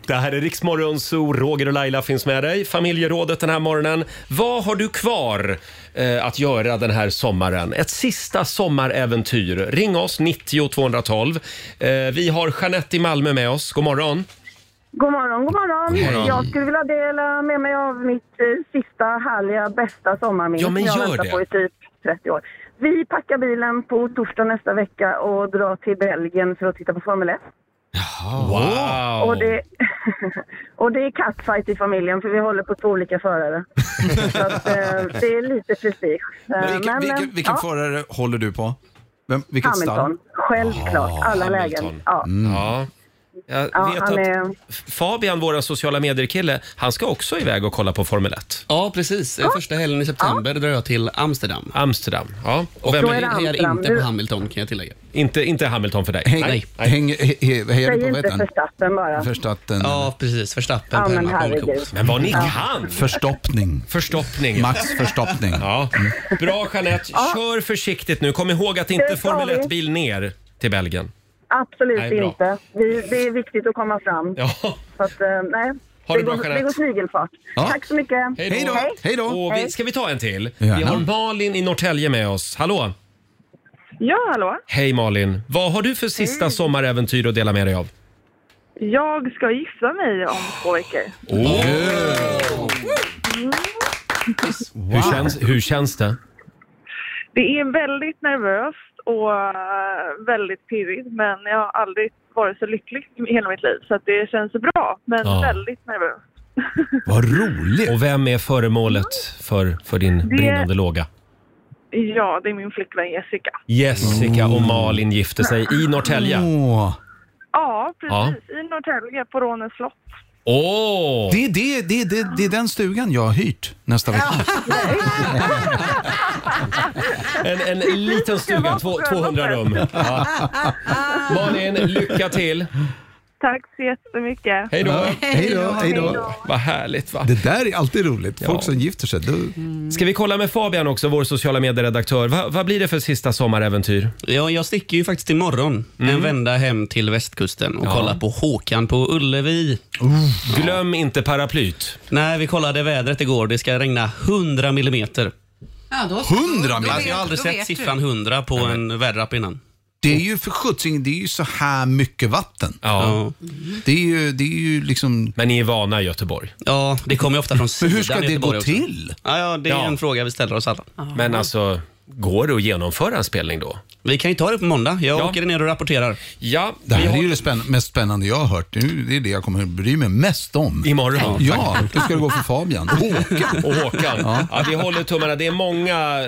Det här är Riksmorgon Zoo. Roger och Laila finns med dig. Familjerådet den här morgonen. Vad har du kvar eh, att göra den här sommaren? Ett sista sommaräventyr. Ring oss, 90 212. Eh, vi har Jeanette i Malmö med oss. God morgon. God morgon, god morgon. God morgon. Jag skulle vilja dela med mig av mitt eh, sista härliga, bästa sommarminne Ja, men som gör jag väntar det. på i typ 30 år. Vi packar bilen på torsdag nästa vecka och drar till Belgien för att titta på Formel 1. Wow! Och, det, <laughs> och det är catfight i familjen för vi håller på två <laughs> olika förare. Så att, eh, det är lite prestige. Eh, Men vilken men, vilken, eh, vilken ja, förare håller du på? Vem, vilket Hamilton, stall? självklart. Ah, alla Hamilton. lägen. Ja. Ja. Jag Ja, vet han att är- Fabian, vår sociala medier-kille, han ska också iväg och kolla på Formel 1. Ja, precis. Eh, Första helgen i september drar jag till Amsterdam. Amsterdam, ja. Och Och vem vem Då är är det Amsterdam. inte på Du- Hamilton kan jag tillägga. Inte, inte Hamilton för dig? Häng- Häng, he, he, hejar du Säg på inte Vättern? Verstappen bara. Förstappen. Ja, precis. Verstappen Ja, på men hemmaplan. herregud. Klokt. Men vad ni Ja. kan! Förstoppning. Förstoppning. Max förstoppning. Ja. Bra Jeanette, kör försiktigt nu. Kom ihåg att inte Det ska Formel vi. 1-bil ner till Belgien. Absolut Nej, bra. inte. Vi, det är viktigt att komma fram. Ja. Så att, eh, nej. Ha det bra, går, Jeanette. det går snigelfart. Ja. Tack så mycket. Hej då! Och vi, ska vi ta en till? Vi Gärna. har Malin i Norrtälje med oss. Hallå! Ja, hallå. Hej Malin! Vad har du för sista sommaräventyr att dela med dig av? Jag ska gifta mig om två veckor. Hur, känns, hur känns det? <laughs> Det är väldigt nervöst och eh, väldigt pirrigt, men jag har aldrig varit så lycklig i hela mitt liv, så att det känns bra, men Ja. väldigt nervöst. Vad roligt! Och vem är föremålet för, för din Det- brinnande låga? Ja, det är min flickvän Jessica. Jessica och Malin gifter sig i Norrtälje. Åh! Ja, precis. I Norrtälje, på Rånens <laughs> slott. Det, är det, det, är det, det är den stugan jag har hyrt nästa vecka. En, en liten stuga, två, 200 rum. Ja. Malin, lycka till! Tack så jättemycket. Hej då! hej då. Vad härligt va? Det där är alltid roligt. Folk Ja. Mm. som gifter sig. Du... Ska vi kolla med Fabian också, vår sociala medieredaktör. Va, vad blir det för sista sommaräventyr? Ja, jag sticker ju faktiskt imorgon en vända hem till västkusten och Mm. Ja. kollar på Håkan på Ullevi. Glöm inte paraplyt. Nej, vi kollade vädret igår. Det ska regna 100 millimeter. Ja, då, Hundra då Alltså, vet- jag har aldrig då sett vet du. siffran 100 på en väderapp innan. Det är ju för sjuttsingen, det är ju så här mycket vatten. Ja. Det är ju, det är ju liksom... Men ni är vana i Göteborg. Ja, det kommer ju ofta från Men sidan hur ska det Göteborg gå också. till? Ja, ja, det är Ja. en fråga vi ställer oss alla. Men alltså, går det att genomföra en spelning då? Vi kan ju ta det på måndag. Jag Ja. åker ner och rapporterar. Ja, Det här är ju det spänn- mest spännande jag har hört. Nu- Det är det jag kommer att bry mig mest om. Imorgon. Ja, hur ska det gå för Fabian? <laughs> Håkan. Och Håkan. Ja. Ja. vi håller tummarna. Det är många,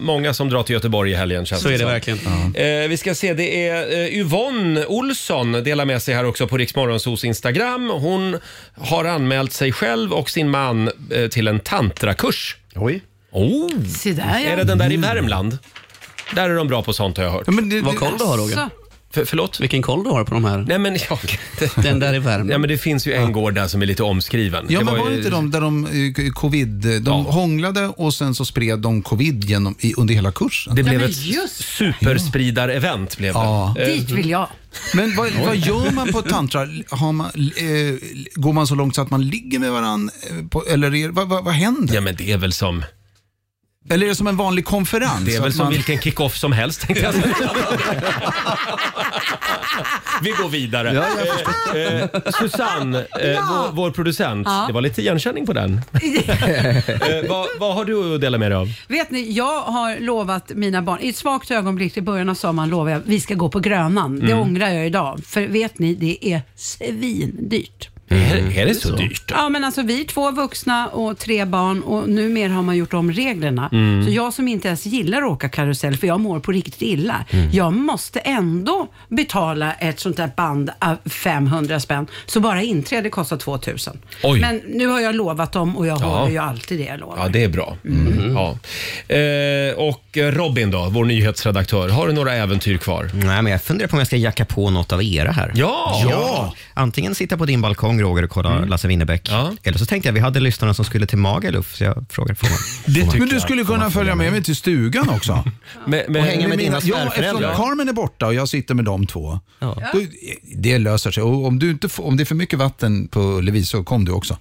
många som drar till Göteborg i helgen känns Så är det som. verkligen. Eh, vi ska se, det är eh, Yvonne Olsson delar med sig här också på Riksmorgonsos Instagram. Hon har anmält sig själv och sin man eh, till en tantrakurs. Oj. Oh. Se där, ja. Är det den där i Värmland? Där är de bra på sånt har jag hört. Mm. Alltså. Vad koll du har Roger. Så. För, förlåt? Vilken koll du har på de här. Nej men jag... Den där i Värmland. Ja men det finns ju en gård där som är lite omskriven. Ja, men ju- var det inte de där de eh, covid... De hånglade och sen så spred de covid genom, i, under hela kursen. Det blev ett superspridar-event. Blev det. Ja. Eh, Dit vill jag. Men vad, vad gör man på tantra? Har man, eh, går man så långt så att man ligger med varandra? Eller är, vad, vad, vad händer? Ja, men det är väl som... Eller är det som en vanlig konferens? Det är Att väl som man, vilken kick-off som helst tänkte jag säga. Vi går vidare. Ja, jag eh, eh, Susanne, eh, vår, vår producent. Ja. Det var lite igenkänning på <laughs> den. eh, vad, vad har du att dela med dig av? Vet ni, jag har lovat mina barn, i ett svagt ögonblick i början av sommaren lovade jag, vi ska gå på Grönan. Det Mm. ångrar jag idag, för vet ni, det är svindyrt. Mm. Är, är det så dyrt? Ja, men alltså vi är två vuxna och tre barn och numera har man gjort om reglerna. Mm. Så jag som inte ens gillar att åka karusell, för jag mår på riktigt illa, Mm. jag måste ändå betala ett sånt där band av 500 spänn. Så bara inträde kostar 2000. Oj. Men nu har jag lovat dem och jag Ja. håller ju alltid det jag lovar. Ja, det är bra. Mm. Ja. Eh, och eh, Robin då, vår nyhetsredaktör. Har du några äventyr kvar? Nej, men jag funderar på om jag ska jacka på något av era här. Ja! ja. Antingen sitta på din balkong, Roger, och kolla Lasse Winnerbäck. Eller så tänkte jag vi hade lyssnarna som skulle till Magaluf, så jag frågar får man? får man- men du skulle får man kunna följa med mig till <laughs> stugan också. Och hänga med dina ja, eftersom svärföräldrar. Carmen är borta och jag sitter med de två. Då, det löser sig. Och om, du inte, får- om det är för mycket vatten på Ullevi så kom du också.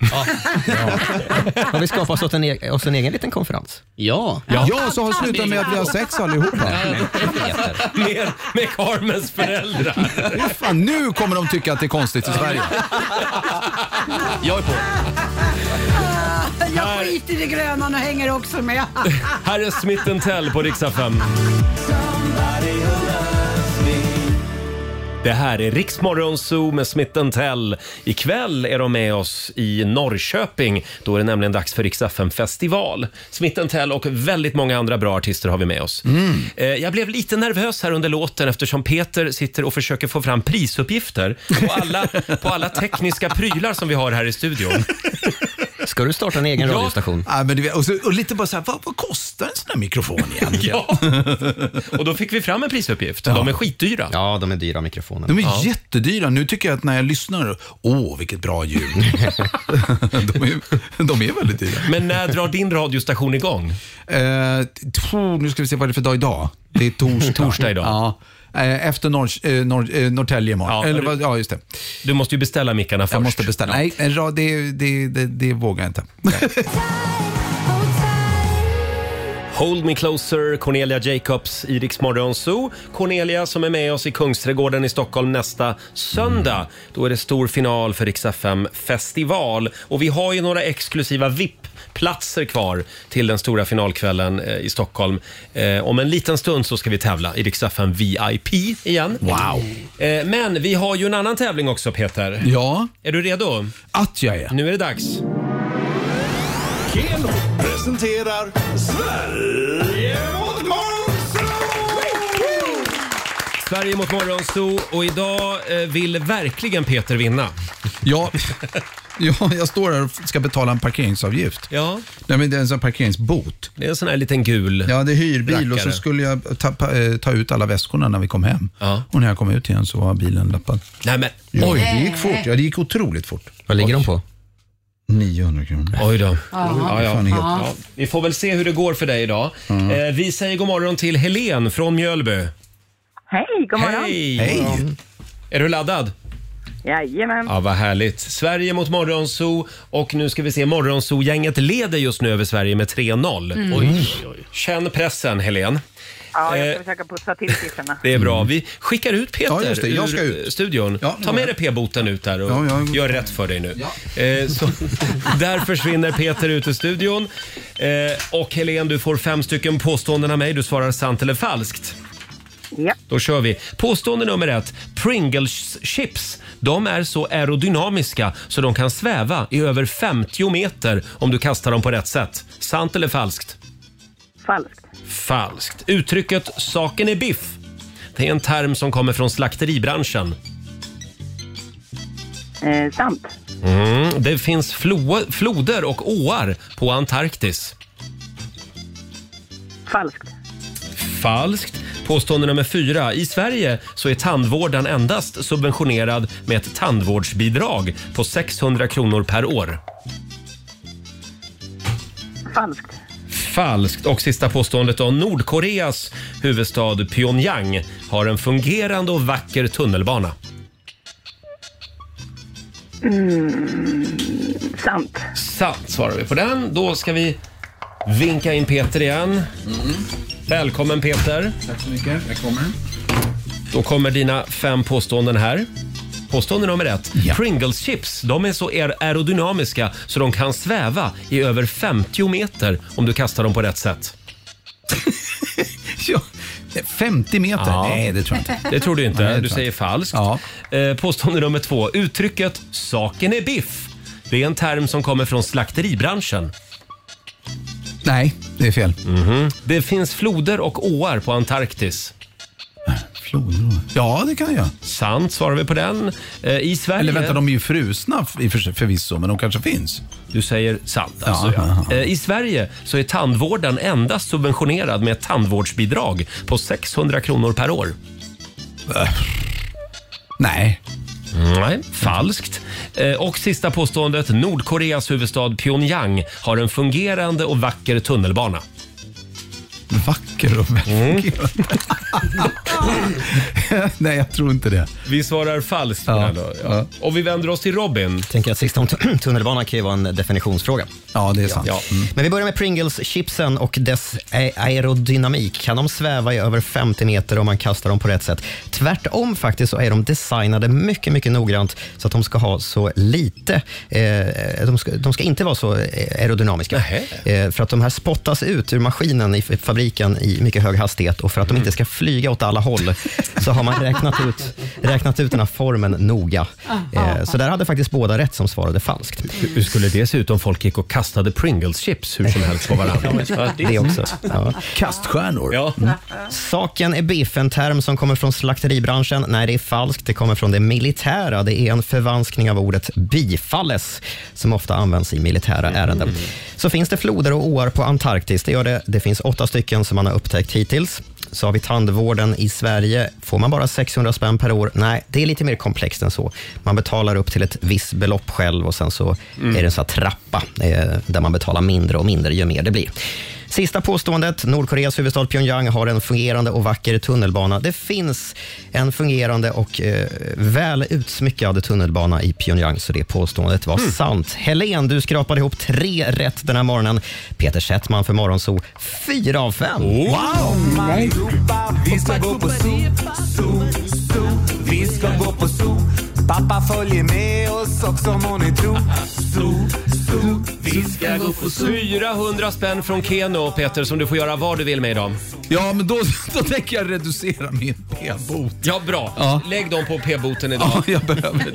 Har vi skapat oss en, e- oss en egen liten konferens? <laughs> Ja. Ja, så har det slutat med att vi har sex allihopa. med, med Carmens föräldrar. Hur Fan, nu kommer de tycka att det är konstigt i Sverige. Jag är på. <laughs> Jag skiter i Grönan och hänger <laughs> också med. Här är Smith Tell på riksdag 5. Det här är Riksmorgon Zoo med Smith Tell. Ikväll är de med oss i Norrköping. Då är det nämligen dags för riksdag 5 festival. Smith Tell och väldigt många andra bra artister har vi med oss. Mm. Eh, Jag blev lite nervös här under låten eftersom Peter sitter och försöker få fram prisuppgifter på alla, på alla tekniska prylar som vi har här i studion. Ska du starta en egen Ja. radiostation? Ja, men det, och, så, och lite bara så här, vad, vad kostar en sån här mikrofon <laughs> egentligen? Ja. <laughs> Och då fick vi fram en prisuppgift. De är skitdyra. Ja, de är dyra mikrofonerna. De är ja. jättedyra. Nu tycker jag att när jag lyssnar, åh vilket bra ljud. <laughs> de, är, de är väldigt dyra. Men när drar din radiostation igång? Eh, t- pff, nu ska vi se vad det är för dag idag. Det är <laughs> torsdag. Torsdag idag. Ja. Eh, Efter Norr, eh, Norr, eh, Norrtälje imorgon. Ja, Eller, du- vad- ja, just det. Du måste ju beställa mickarna först. Jag måste beställa. Nej, en rad- det, det, det, det vågar jag inte. <laughs> Hold Me Closer, Cornelia Jacobs i Rix Morgon Zoo. Cornelia som är med oss i Kungsträdgården i Stockholm nästa söndag. Då är det stor final för Rix FM festival. Och vi har ju några exklusiva VIP-platser kvar till den stora finalkvällen eh, i Stockholm. Eh, om en liten stund så ska vi tävla i Rix FM VIP igen. Wow! Eh, men vi har ju en annan tävling också Peter. Ja. Är du redo? Att jag är. Nu är det dags. Keno presenterar Sverige mot Månsson! Sverige mot Morgonzoo och idag eh, vill verkligen Peter vinna. Ja. <laughs> ja, jag står här och ska betala en parkeringsavgift. Ja. Nej, men det är en sån parkeringsbot. Det är en sån här liten gul Ja, det är hyrbil och så rackare. skulle jag ta, pa- eh, ta ut alla väskorna när vi kom hem. Och när jag kom ut igen så var bilen lappad. Nej, men... Oj, det gick fort. Ja, det gick otroligt fort. Vad ligger de på? 900 kronor. Oj då. Ja, ja. Ja, vi får väl se hur det går för dig idag. Eh, vi säger god morgon till Helen från Mjölby. Hej, god morgon. Hej! Är du laddad? Jajamän. Ja, vad härligt. Sverige mot Morgonzoo och nu ska vi se, Morgonzoo-gänget leder just nu över Sverige med 3-0. Mm. Oj, oj. Känn pressen, Helen. Ja, jag Eh, ska försöka putsa till siffrorna. Det är bra. Vi skickar ut Peter Mm. Ja, just det. Jag ur ska ut. studion. Ja, nu Ta går med jag. dig p-boten ut där och Ja, jag- gör rätt för dig nu. Eh, så, <laughs> där försvinner Peter ut ur studion. Eh, och Helen, du får fem stycken påståenden av mig. Du svarar sant eller falskt. Ja. Då kör vi. Påstående nummer ett. Pringles chips. De är så aerodynamiska så de kan sväva i över 50 meter om du kastar dem på rätt sätt. Sant eller falskt? Falskt. Falskt. Uttrycket “saken är biff” det är en term som kommer från slakteribranschen. Eh, sant. Mm. Det finns flo- floder och åar på Antarktis. Falskt. Falskt. Påstående nummer fyra. I Sverige så är tandvården endast subventionerad med ett tandvårdsbidrag på 600 kronor per år. Falskt. Falskt. Och sista påståendet då. Nordkoreas huvudstad Pyongyang har en fungerande och vacker tunnelbana. Mm, sant. Sant svarar vi på den. Då ska vi vinka in Peter igen. Välkommen Peter. Tack så mycket. Jag kommer. Då kommer dina fem påståenden här. Påstående nummer ett. Pringles chips, de är så aer- aerodynamiska så de kan sväva i över 50 meter om du kastar dem på rätt sätt. 50 meter? Nej, det tror jag inte. Det tror du inte. Nej, det du tror jag säger falskt. Eh, Påstående nummer två. Uttrycket “saken är biff” det är en term som kommer från slakteribranschen. Mhm. Nej, det är fel. Det finns floder och åar på Antarktis. Floder Ja, det kan jag. Sant svarar vi på den. Eh, I Sverige... Eller vänta, de är ju frusna i och för sig, förvisso, men de kanske finns. Du säger sant alltså. ja. Eh, I Sverige så är tandvården endast subventionerad med ett tandvårdsbidrag på 600 kronor per år. Äh. Nej. Nej, falskt. Eh, Och sista påståendet. Nordkoreas huvudstad Pyongyang har en fungerande och vacker tunnelbana. Vacker och välfungerande. Mm. <laughs> Nej, jag tror inte det. Vi svarar falskt på den då. Ja. Och vi vänder oss till Robin. Tänker att sista om tu- <clears throat> tunnelbanan kan ju vara en definitionsfråga. Ja, det är sant. Mm. Men vi börjar med Pringles-chipsen och dess a- aerodynamik. Kan de sväva i över 50 meter om man kastar dem på rätt sätt? Tvärtom faktiskt så är de designade mycket, mycket noggrant så att de ska ha så lite. Eh, de, ska, de ska inte vara så eh, aerodynamiska. Eh, för att de här spottas ut ur maskinen i f- fabriken i mycket hög hastighet och för Mm. att de inte ska flyga åt alla <laughs> håll så har man räknat ut, räknat ut den här formen noga. Eh, så där hade faktiskt båda rätt som svarade falskt. Hur skulle det se ut om folk gick och kastade Pringles-chips hur som helst på varandra? Mm. det också. Ja. Kaststjärnor. Ja. Saken är biff, en term som kommer från slakteribranschen. Nej, det är falskt. Det kommer från det militära. Det är en förvanskning av ordet bifalles, som ofta används i militära ärenden. Så finns det floder och åar på Antarktis. Det gör det. Det finns åtta stycken som man har upptäckt hittills. Så har vi tandvården i Sverige. Får man bara 600 spänn per år? Nej, det är lite mer komplext än så. Man betalar upp till ett visst belopp själv och sen så är det en sån här trappa eh, där man betalar mindre och mindre ju mer det blir. Sista påståendet. Nordkoreas huvudstad Pyongyang har en fungerande och vacker tunnelbana. Det finns en fungerande och eh, väl utsmyckad tunnelbana i Pyongyang, så det påståendet var sant. Helen, du skrapade ihop tre rätt den här morgonen. Peter Settman för Morgonzoo, fyra av fem. Vi ska gå på zoo, zoo, zoo. Vi ska gå på zoo. Pappa följer med oss också om hon är tro. Zoo, zoo. Vi ska gå på zoo. 400 spänn från Keno, Peter, som du får göra vad du vill med idag. Ja, men då, <laughs> då tänker jag reducera min p-bot. Ja, bra. Ja. Lägg dem på p-boten idag. Ja, jag behöver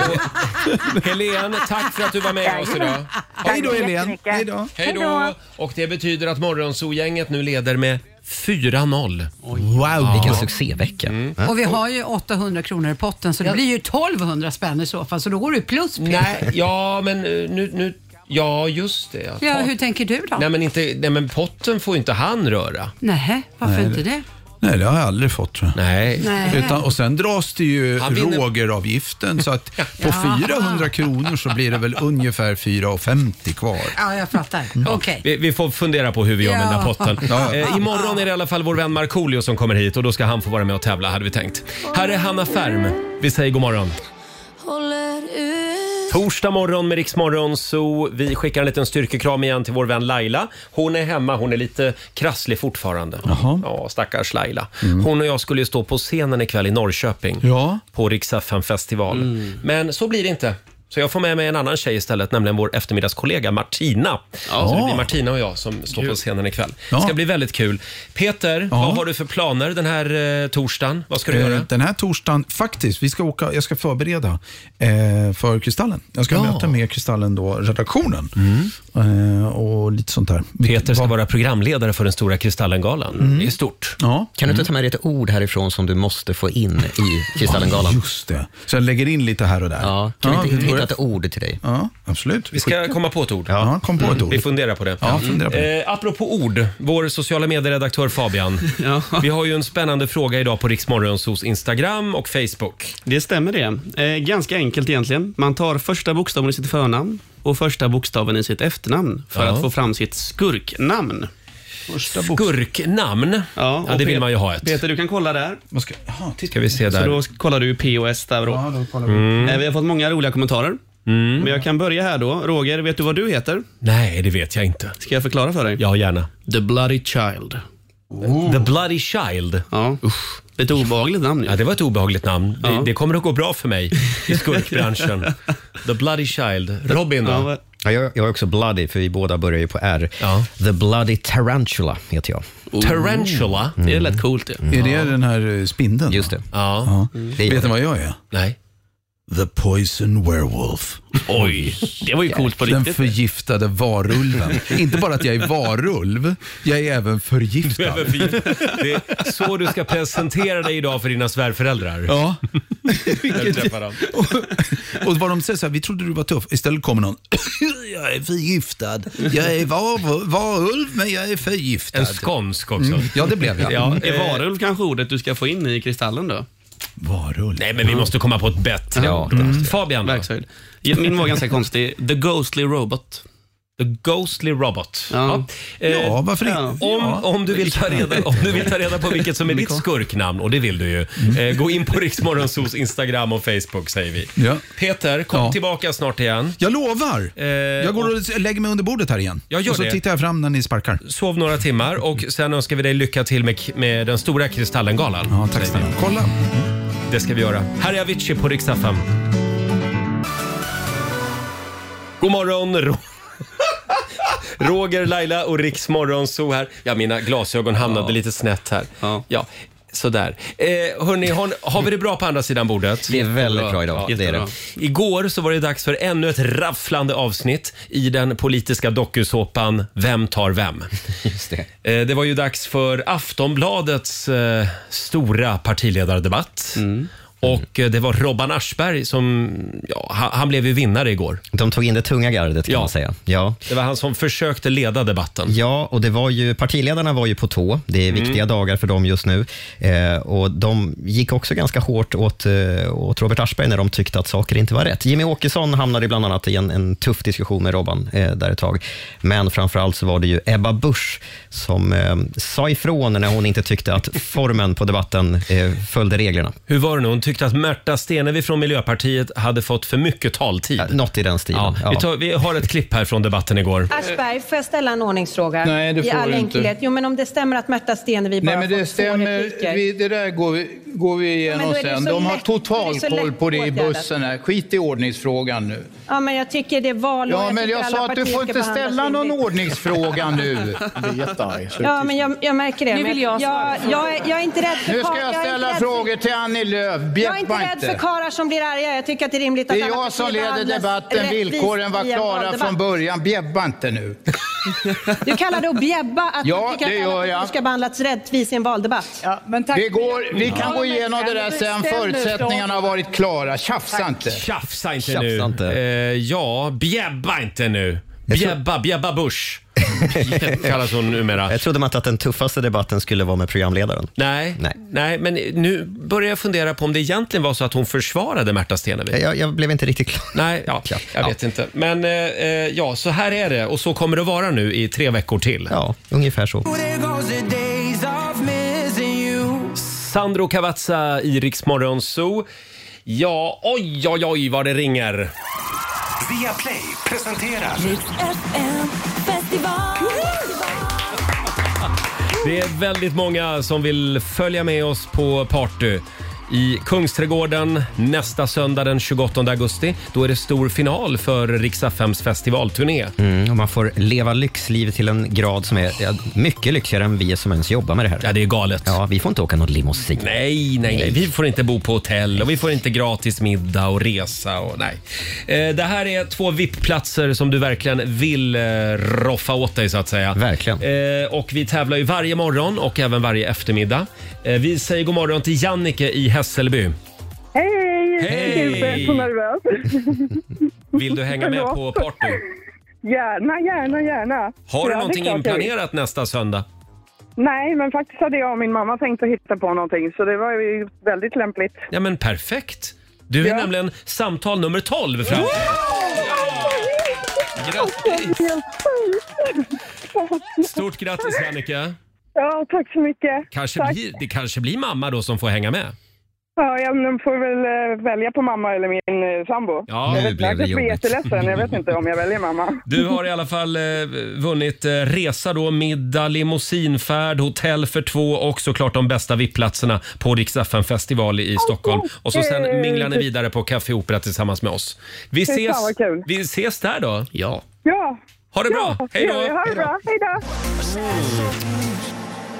det. <laughs> Helen, tack för att du var med oss idag. Hej då, Helen. Hej då. Hej då! Och det betyder att Morgonzoo-gänget nu leder med 4-0. Wow, vilken succévecka. Och vi har ju 800 kronor i potten så det blir ju 1200 spänn i så fall. Så då går det ju plus Peter. Nej, ja men eh, nu... nu ja, just det. Ja, Ta- hur tänker du då? Nej men, inte, nej men potten får inte han röra. Nej, varför Nej, inte det- det? Nej, det har jag aldrig fått tror jag. Nej. Nej. Utan, och sen dras det ju Han vinner- Rogeravgiften så att på 400 kronor så blir det väl ungefär 4,50 kvar. Ja, jag fattar. Okej. Vi, vi får fundera på hur vi gör med den där Ja. potten. Ja. Eh, imorgon är det i alla fall vår vän Markoolio som kommer hit och då ska han få vara med och tävla hade vi tänkt. Här är Hanna Färm. Vi säger god morgon. Håller ut. Torsdag morgon med Riksmorgon så vi skickar en liten styrkekram igen till vår vän Laila. Hon är hemma, hon är lite krasslig fortfarande. Ja, stackars Laila. Hon och jag skulle ju stå på scenen ikväll i Norrköping Ja. på Rix FM festival. Mm. Men så blir det inte. Så jag får med mig en annan tjej istället, nämligen vår eftermiddagskollega Martina. Så det blir Martina och jag som står på scenen ikväll. Det ska bli väldigt kul. Peter, vad har du för planer den här eh, torsdagen? Vad ska du Eh, göra? Den här torsdagen, faktiskt, vi ska åka, jag ska förbereda eh, för Kristallen. Jag ska Ja. möta med Kristallen då, redaktionen. Eh, och lite sånt där. Peter ska vara programledare för den stora Kristallengalan. Det är stort. Mm. Ja. Kan du inte ta med dig ett ord härifrån som du måste få in i Kristallengalan? Ja, just det. Så jag lägger in lite här och där. Ja, kan vi inte vi hitta börjar- ett ord till dig? Ja, absolut. Vi ska komma på ett ord. Mm. Mm. Ja, kom på ett ord. Vi funderar på det. Ja, fundera på det. Eh, apropå ord, vår sociala <laughs> medieredaktör Fabian. Vi har ju en spännande fråga idag på Riksmorgonsos Instagram och Facebook. Det stämmer det. Eh, ganska enkelt egentligen. Man tar första bokstaven i sitt förnamn och första bokstaven i sitt efternamn för Ja. att få fram sitt skurknamn. Skurknamn? Ja, Ja, och det vill Pe- man ju ha ett. Peter, du kan kolla där. Vad ska- jaha, titta. Ska vi se Så där. då kollar du P och S där då. Ja, då kollar vi. Mm. Eh, Vi har fått många roliga kommentarer. Men jag kan börja här då. Roger, vet du vad du heter? Nej, det vet jag inte. Ska jag förklara för dig? Ja, gärna. The Bloody Child. The Bloody Child. Ja. Lite obehagligt namn ju. Ja, det var ett obehagligt namn. Ja. Det, det kommer att gå bra för mig i skurkbranschen. <laughs> The Bloody Child. Robin då? Ja, vad- Ja, jag, jag är också bloody, för vi båda börjar ju på R. The Bloody Tarantula heter jag. Mm. Tarantula? Det är lätt coolt det. Är det den här eh, spindeln? Just det. Ja. Mm. Ja. Vet ni vad jag är? Nej. The Poison Werewolf. Oj, det var ju coolt på Den riktigt. förgiftade varulven. Inte bara att jag är varulv, jag är även förgiftad. <laughs> Det är så du ska presentera dig idag för dina svärföräldrar. Ja. <laughs> När du träffar dem. Och, och vad de säger så här, vi trodde du var tuff. Istället kommer någon, jag är förgiftad. Jag är var, varulv, men jag är förgiftad. En skånsk också. Mm. Ja, det blev jag. Ja, Är eh, varulv kanske ordet du ska få in i kristallen då? Varulv. Nej, men vi måste komma på ett bett. Ja. Mm. Fabian då? Verkshöjd. Ja, Min var ganska konstig. The Ghostly Robot. The Ghostly Robot. Ja. Ja. Eh, Ja, varför inte? Ja. Ja. Om, om, du vill ta reda, om du vill ta reda på vilket som är ditt skurknamn, och det vill du ju, Mm. eh, gå in på Riksmorgonsos Instagram och Facebook säger vi. Ja. Peter, kom Ja. tillbaka snart igen. Jag lovar! Eh, Jag går och lägger mig under bordet här igen. Jag gör och så det. tittar jag fram när ni sparkar. Sov några timmar och sen önskar vi dig lycka till med, med den stora Kristallengalan. Ja, tack säger vi. Mm. snälla. Kolla. Det ska vi göra. Här är Avicii på riksdag 5. God morgon, Ro- <laughs> Roger, Laila och Riks Morgonzoo här. Ja, mina glasögon hamnade lite snett här. Ja. Ja. Sådär. Eh, hörni, har, har vi det bra på andra sidan bordet? Det är väldigt bra idag. Ja, det är det. jättebra. Igår så var det dags för ännu ett rafflande avsnitt i den politiska dokusåpan Vem tar vem? Just det. Eh, Det var ju dags för Aftonbladets eh, stora partiledardebatt. Och eh, det var Robban Aschberg som, ja, han, han blev ju vinnare igår. De tog in det tunga gardet kan man säga. Ja. Det var han som försökte leda debatten. Ja, och det var ju, partiledarna var ju på tå. Det är Mm. viktiga dagar för dem just nu. Eh, och De gick också ganska hårt åt, eh, åt Robert Aschberg när de tyckte att saker inte var rätt. Jimmy Åkesson hamnade bland annat i en, en tuff diskussion med Robban eh, där ett tag. Men framför allt så var det ju Ebba Busch som eh, sa ifrån när hon inte tyckte att formen på debatten eh, följde reglerna. Hur var det nu? Hon tyckte att Märta Stenevi från Miljöpartiet hade fått för mycket taltid. Äh, Något i den stilen. Ja. Vi, tar, vi har ett klipp här från debatten igår. Aschberg, får jag ställa en ordningsfråga? Nej, det I får all du inte. enkelhet. Jo, men om det stämmer att Märta Stenevi bara Nej, men det fått två repliker. stämmer. Vi, det där går vi, går vi men igenom då är det sen. så De har lätt- total det är så koll lätt på det i åtgärdat. bussen här. Skit i ordningsfrågan nu. Ja, men jag tycker det är valår. Ja, men tycker jag alla sa att du partier får ska inte behandlas ställa någon lindrigt. ordningsfråga nu. Ja, men jag, jag märker det. Nu men vill jag svara. jag, jag, är- jag är inte rädd för Nu ska kar- är jag inte ställa rädd för- frågor till Annie Lööf. Jag är inte Bjäckma rädd för inte. karlar som blir arga. Jag tycker att det är rimligt att Det är alla jag som partier leder behandlas debatten. rättvist Villkoren var i en klara valdebatt. från början. Bjäbba inte nu. Du kallar det att bjäbba att Ja, du tycker det att gör alla partier jag. ska behandlas rättvist i en valdebatt. Ja, men Det går, vi kan gå igenom det där sen. Förutsättningarna har varit klara. Tjafsa inte. Tjafsa inte Tjafsa nu. inte. Eh, ja, bjäbba inte nu. Bjäbba, bjäbba Busch. Kallas hon numera. Jag trodde man inte att den tuffaste debatten skulle vara med programledaren. Nej, nej. men nu börjar jag fundera på om det egentligen var så att hon försvarade Märta Stenevi. Jag, jag blev inte riktigt klar. Nej, ja, jag vet inte. Men eh, eh, ja, så här är det och så kommer det vara nu i tre veckor till. Ja, ungefär så. Sandro Cavazza i Rix Morgon Zoo. Ja, oj, oj, oj vad det ringer. Via Play presenterar... Det är väldigt många som vill följa med oss på party i Kungsträdgården nästa söndag den 28 augusti. Då är det stor final för Rix FMs festivalturné. Mm, och man får leva lyxliv till en grad som är ja, mycket lyxigare än vi som ens jobbar med det här. Ja, det är galet. Ja, vi får inte åka någon limousin. Nej, nej, nej. Eh, Vi får inte bo på hotell och vi får inte gratis middag och resa och nej. Eh, Det här är två VIP-platser som du verkligen vill eh, roffa åt dig så att säga. Verkligen. Och vi tävlar ju varje morgon och även varje eftermiddag. Eh, Vi säger god morgon till Jannike i Hässelby. Hej! Hej! Gud, så nervös. Vill <laughs> du hänga med på Förlåt. party? Gärna, gärna, gärna. Har Ja, du det är någonting klart jag vill. inplanerat nästa söndag? Nej, men faktiskt hade jag och min mamma tänkt att hitta på någonting, så det var ju väldigt lämpligt. Ja men perfekt! Du är nämligen samtal nummer 12 fram. Stort grattis Jannike! Ja, tack så mycket. Kanske tack. blir, det kanske blir mamma då som får hänga med. Ja, jag får väl eh, välja på mamma eller min eh, sambo. Ja. jag Nu vet, blev jag det kanske blir jobbigt. jätteledsen. Jag vet inte om jag väljer mamma. Du har i alla fall eh, vunnit eh, resa då, middag, limousinfärd, hotell för två och såklart de bästa VIP-platserna på Rix FM festival i Stockholm. Och så sen minglar ni vidare på Café Opera tillsammans med oss. Vi Fy fan, ses, vad kul. vi ses där då. Ja. Ja. Ha det bra. Ja, Hej då. ja, Ha det bra. Hej då.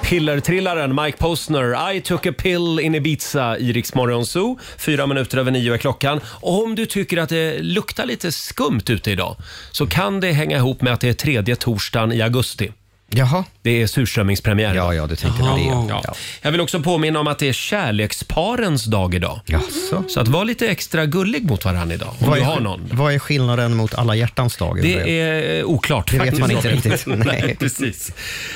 Pillertrillaren Mike Posner, I took a pill in Ibiza i Rix Morgon Zoo. Fyra minuter över nio är klockan. Och om du tycker att det luktar lite skumt ute idag så kan det hänga ihop med att det är tredje torsdagen i augusti. Jaha. Det är surströmmingspremiär. Ja, ja, du tänkte på det. Ja. Jag vill också påminna om att det är kärleksparens dag idag. Jaså? Så att var lite extra gullig mot varandra idag om Vad du är, har någon. vad är skillnaden mot alla hjärtans dag? undrar jag? Det är eh, oklart. Det vet faktiskt, <laughs> man inte Robin. riktigt. Nej. Nej, precis.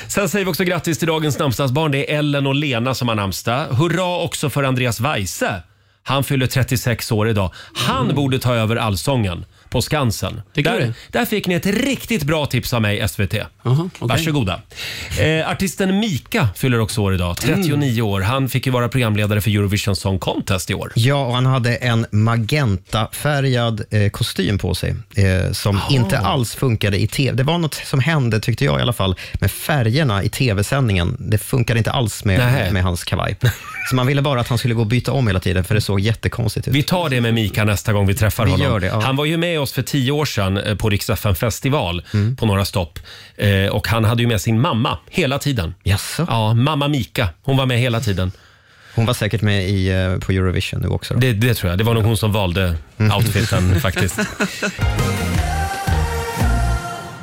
Sen säger vi också grattis till dagens namnsdagsbarn. Det är Ellen och Lena som har namnsdag. Hurra också för Andreas Weise. Han fyller 36 år idag. Han Mm. borde ta över Allsången på Skansen. Där, där fick ni ett riktigt bra tips av mig, SVT. Varsågoda. Eh, artisten Mika fyller också år idag, 39 Mm. år. Han fick ju vara programledare för Eurovision Song Contest i år. Ja, och han hade en magentafärgad eh, kostym på sig eh, som inte alls funkade i tv. Det var något som hände, tyckte jag i alla fall, med färgerna i tv-sändningen. Det funkade inte alls Nähä. med, med <laughs> hans kavaj. Så man ville bara att han skulle gå och byta om hela tiden, för det såg jättekonstigt ut. Vi tar det med Mika nästa gång vi träffar Vi honom. gör det, ja. Han var ju med oss för tio år sedan eh, på Rix FM festival Mm. på några stopp. Eh, och han hade ju med sin mamma hela tiden. Jaså? Ja, mamma Mika. Hon var med hela tiden. Hon var säkert med i, eh, på Eurovision nu också. Då. Det, det tror jag. Det var nog Mm. <laughs> hon som valde outfiten faktiskt.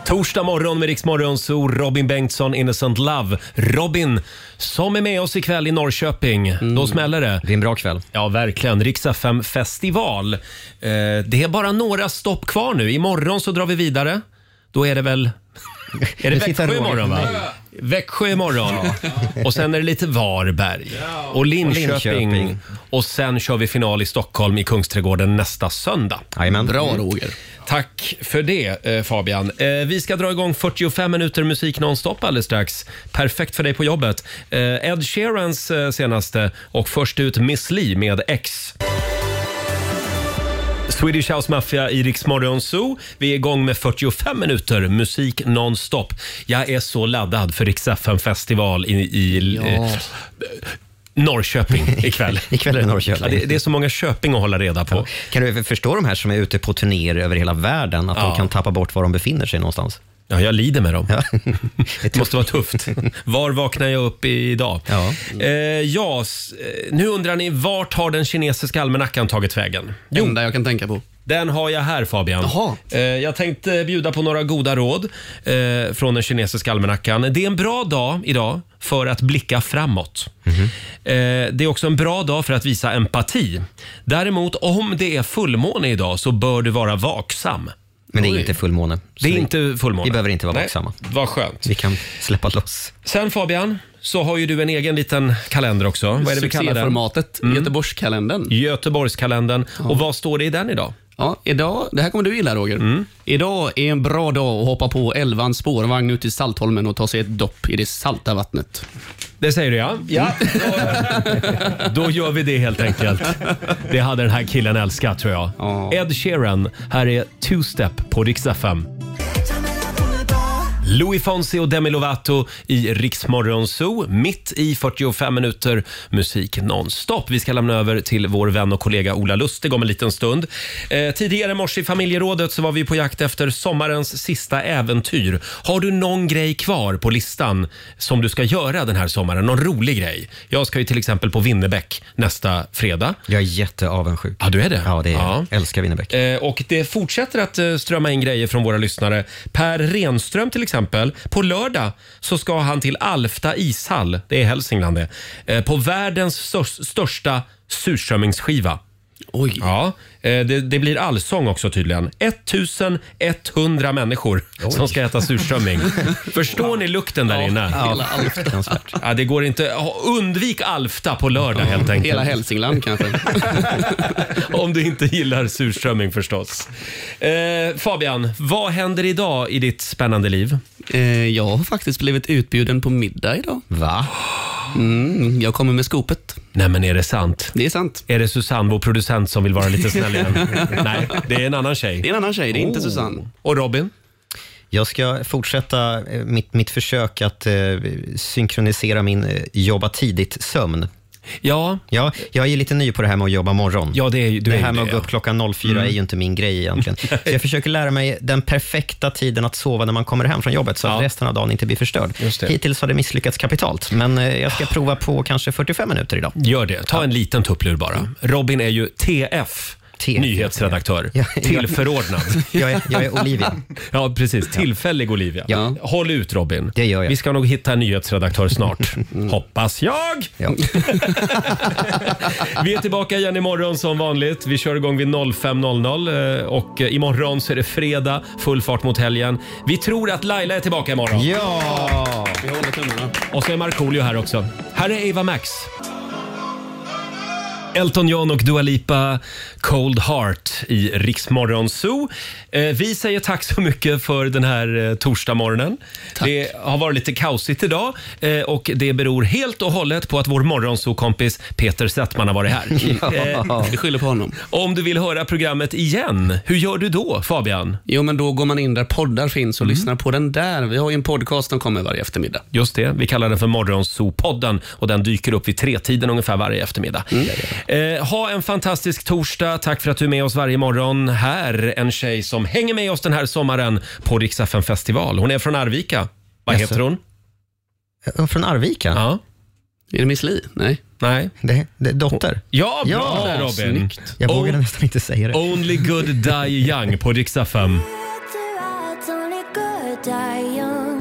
Torsdag morgon med Riksmorgon så Robin Bengtsson, Innocent Love. Robin som är med oss ikväll i Norrköping. Då smäller Mm. det. Det är en bra kväll. Ja, verkligen. Rix FM festival. Eh, det är bara några stopp kvar nu. Imorgon så drar vi vidare. Då är det <laughs> väl... Är det Nu tittar Växjö Roger på imorgon? Va? mig. Växjö imorgon. Och sen är det lite Varberg och Linköping. Och Linköping. Och sen kör vi final i Stockholm i Kungsträdgården nästa söndag. Jajamän. Bra Mm. Roger. Tack för det eh, Fabian. Eh, Vi ska dra igång 45 minuter musik nonstop alldeles strax. Perfekt för dig på jobbet. Eh, Ed Sheerans eh, senaste och först ut Miss Li med X. Swedish House Mafia i Rix Morgon Zoo. Vi är igång med 45 minuter musik nonstop. Jag är så laddad för Rix FM festival i, i eh, Norrköping ikväll. <laughs> Ikväll är det Norrköping. Ja, det, det är så många Köping att hålla reda på. Kan du förstå de här som är ute på turnéer över hela världen, att Ja. de kan tappa bort var de befinner sig någonstans? Ja, jag lider med dem. <laughs> Det måste vara tufft. Var vaknar jag upp idag? Ja. Eh, ja, s- eh, nu undrar ni vart har den kinesiska almanackan tagit vägen? Jo, Enda jag kan tänka på. Den har jag här Fabian. Eh, jag tänkte bjuda på några goda råd eh, från den kinesiska almanackan. Det är en bra dag idag för att blicka framåt. Mhm. Eh, det är också en bra dag för att visa empati. Däremot om det är fullmåne idag så bör du vara vaksam. Men det är inte fullmåne. Det är inte fullmåne. Vi behöver inte vara Nej, vaksamma. Vad skönt. <laughs> Vi kan släppa loss. Sen Fabian, så har ju du en egen liten kalender också. Vad är det vi kallar den? Mm. Succéformatet, Göteborgskalendern. Göteborgskalendern. Och vad står det i den idag? Ja, idag, det här kommer du gilla Roger. Mm. Idag är en bra dag att hoppa på elvans spårvagn ut till Saltholmen och ta sig ett dopp i det salta vattnet. Det säger du ja. ja. <laughs> Då gör vi det helt enkelt. Det hade den här killen älskat tror jag. Ed Sheeran. Här är Two Step på Rix FM. Louis Fonsi och Demi Lovato i Riksmorgon Zoo, mitt i 45 minuter musik nonstop. Vi ska lämna över till vår vän och kollega Ola Lustig om en liten stund. Eh, tidigare i morse i familjerådet så var vi på jakt efter sommarens sista äventyr. Har du någon grej kvar på listan som du ska göra den här sommaren? Någon rolig grej? Jag ska ju till exempel på Winnerbäck nästa fredag. Jag är jätteavundsjuk. Ja, du är det? Ja, det är jag. Älskar Winnerbäck. Eh, Och det fortsätter att eh, strömma in grejer från våra lyssnare. Per Renström till exempel. På lördag så ska han till Alfta ishall, det är Hälsingland det, eh, på världens störs- största surströmmingsskiva. Oj. Ja, eh, det, det blir allsång också tydligen. 1100 människor som ska <laughs> äta surströmming. Förstår ni lukten där inne? hela Alfta. Ja, det går inte. Ha- Undvik Alfta på lördag helt enkelt. Hela Hälsingland kanske. <laughs> Om du inte gillar surströmming förstås. Eh, Fabian, vad händer idag i ditt spännande liv? Eh, jag har faktiskt blivit utbjuden på middag idag. Va? Mm, jag kommer med skopet. Nej men är det sant? Det är sant. Är det Susanne, vår producent, som vill vara lite <laughs> snäll igen? Nej, det är en annan tjej. Det är en annan tjej, det är inte Oh. Susanne. Och Robin? Jag ska fortsätta eh, mitt, mitt försök att eh, synkronisera min eh, jobba tidigt-sömn. Ja. ja. Jag är lite ny på det här med att jobba morgon. Ja, det, är, ju- du det är ju här med det, att gå ja. upp klockan 04 Mm. är ju inte min grej <laughs> egentligen. Så jag försöker lära mig den perfekta tiden att sova när man kommer hem från jobbet, så att resten av dagen inte blir förstörd. Hittills har det misslyckats kapitalt, men eh, jag ska prova på kanske 45 minuter idag. Gör det. Ta en liten tupplur bara. Mm. Robin är ju TF. Nyhetsredaktör. Tillförordnad. <laughs> Jag är- jag är Olivia. Ja, precis. Tillfällig Olivia. Håll ut Robin. Det gör jag. Vi ska nog hitta en <laughs> nyhetsredaktör snart. Mm. Hoppas jag! <laughs> Vi är tillbaka igen imorgon som vanligt. Vi kör igång vid 05.00 eh, och eh, imorgon så är det fredag, full fart mot helgen. Vi tror att Laila är tillbaka imorgon. Ja! Vi håller tummarna. Och så är Markoolio här också. Här är Eva Max. Elton John och Dua Lipa, Cold Heart i Riksmorgon Zoo. Eh, Vi säger tack så mycket för den här eh, torsdagsmorgonen. Det har varit lite kaosigt idag eh, och det beror helt och hållet på att vår morgonzoo-kompis Peter Settman har <laughs> varit här. Eh, Vi skyller på honom. Om du vill höra programmet igen, hur gör du då Fabian? Mm. Jo, men då går man in där poddar finns och lyssnar på den där. Vi har ju en podcast som kommer varje eftermiddag. Just det, vi kallar den för Morgonzoo-podden och den dyker upp vid tretiden ungefär varje eftermiddag. Mm. Eh, ha en fantastisk torsdag. Tack för att du är med oss varje morgon. Här en tjej som hänger med oss den här sommaren på Rix FM festival. Hon är från Arvika. Vad Jaså? heter hon? Från Arvika? Ja. Är det Miss Li? Nej. Nej. Det, det är dotter. Ja, bra där, Robin. Snyggt. Jag vågade nästan inte säga det. Only good die young på Rix FM. It's only good die young.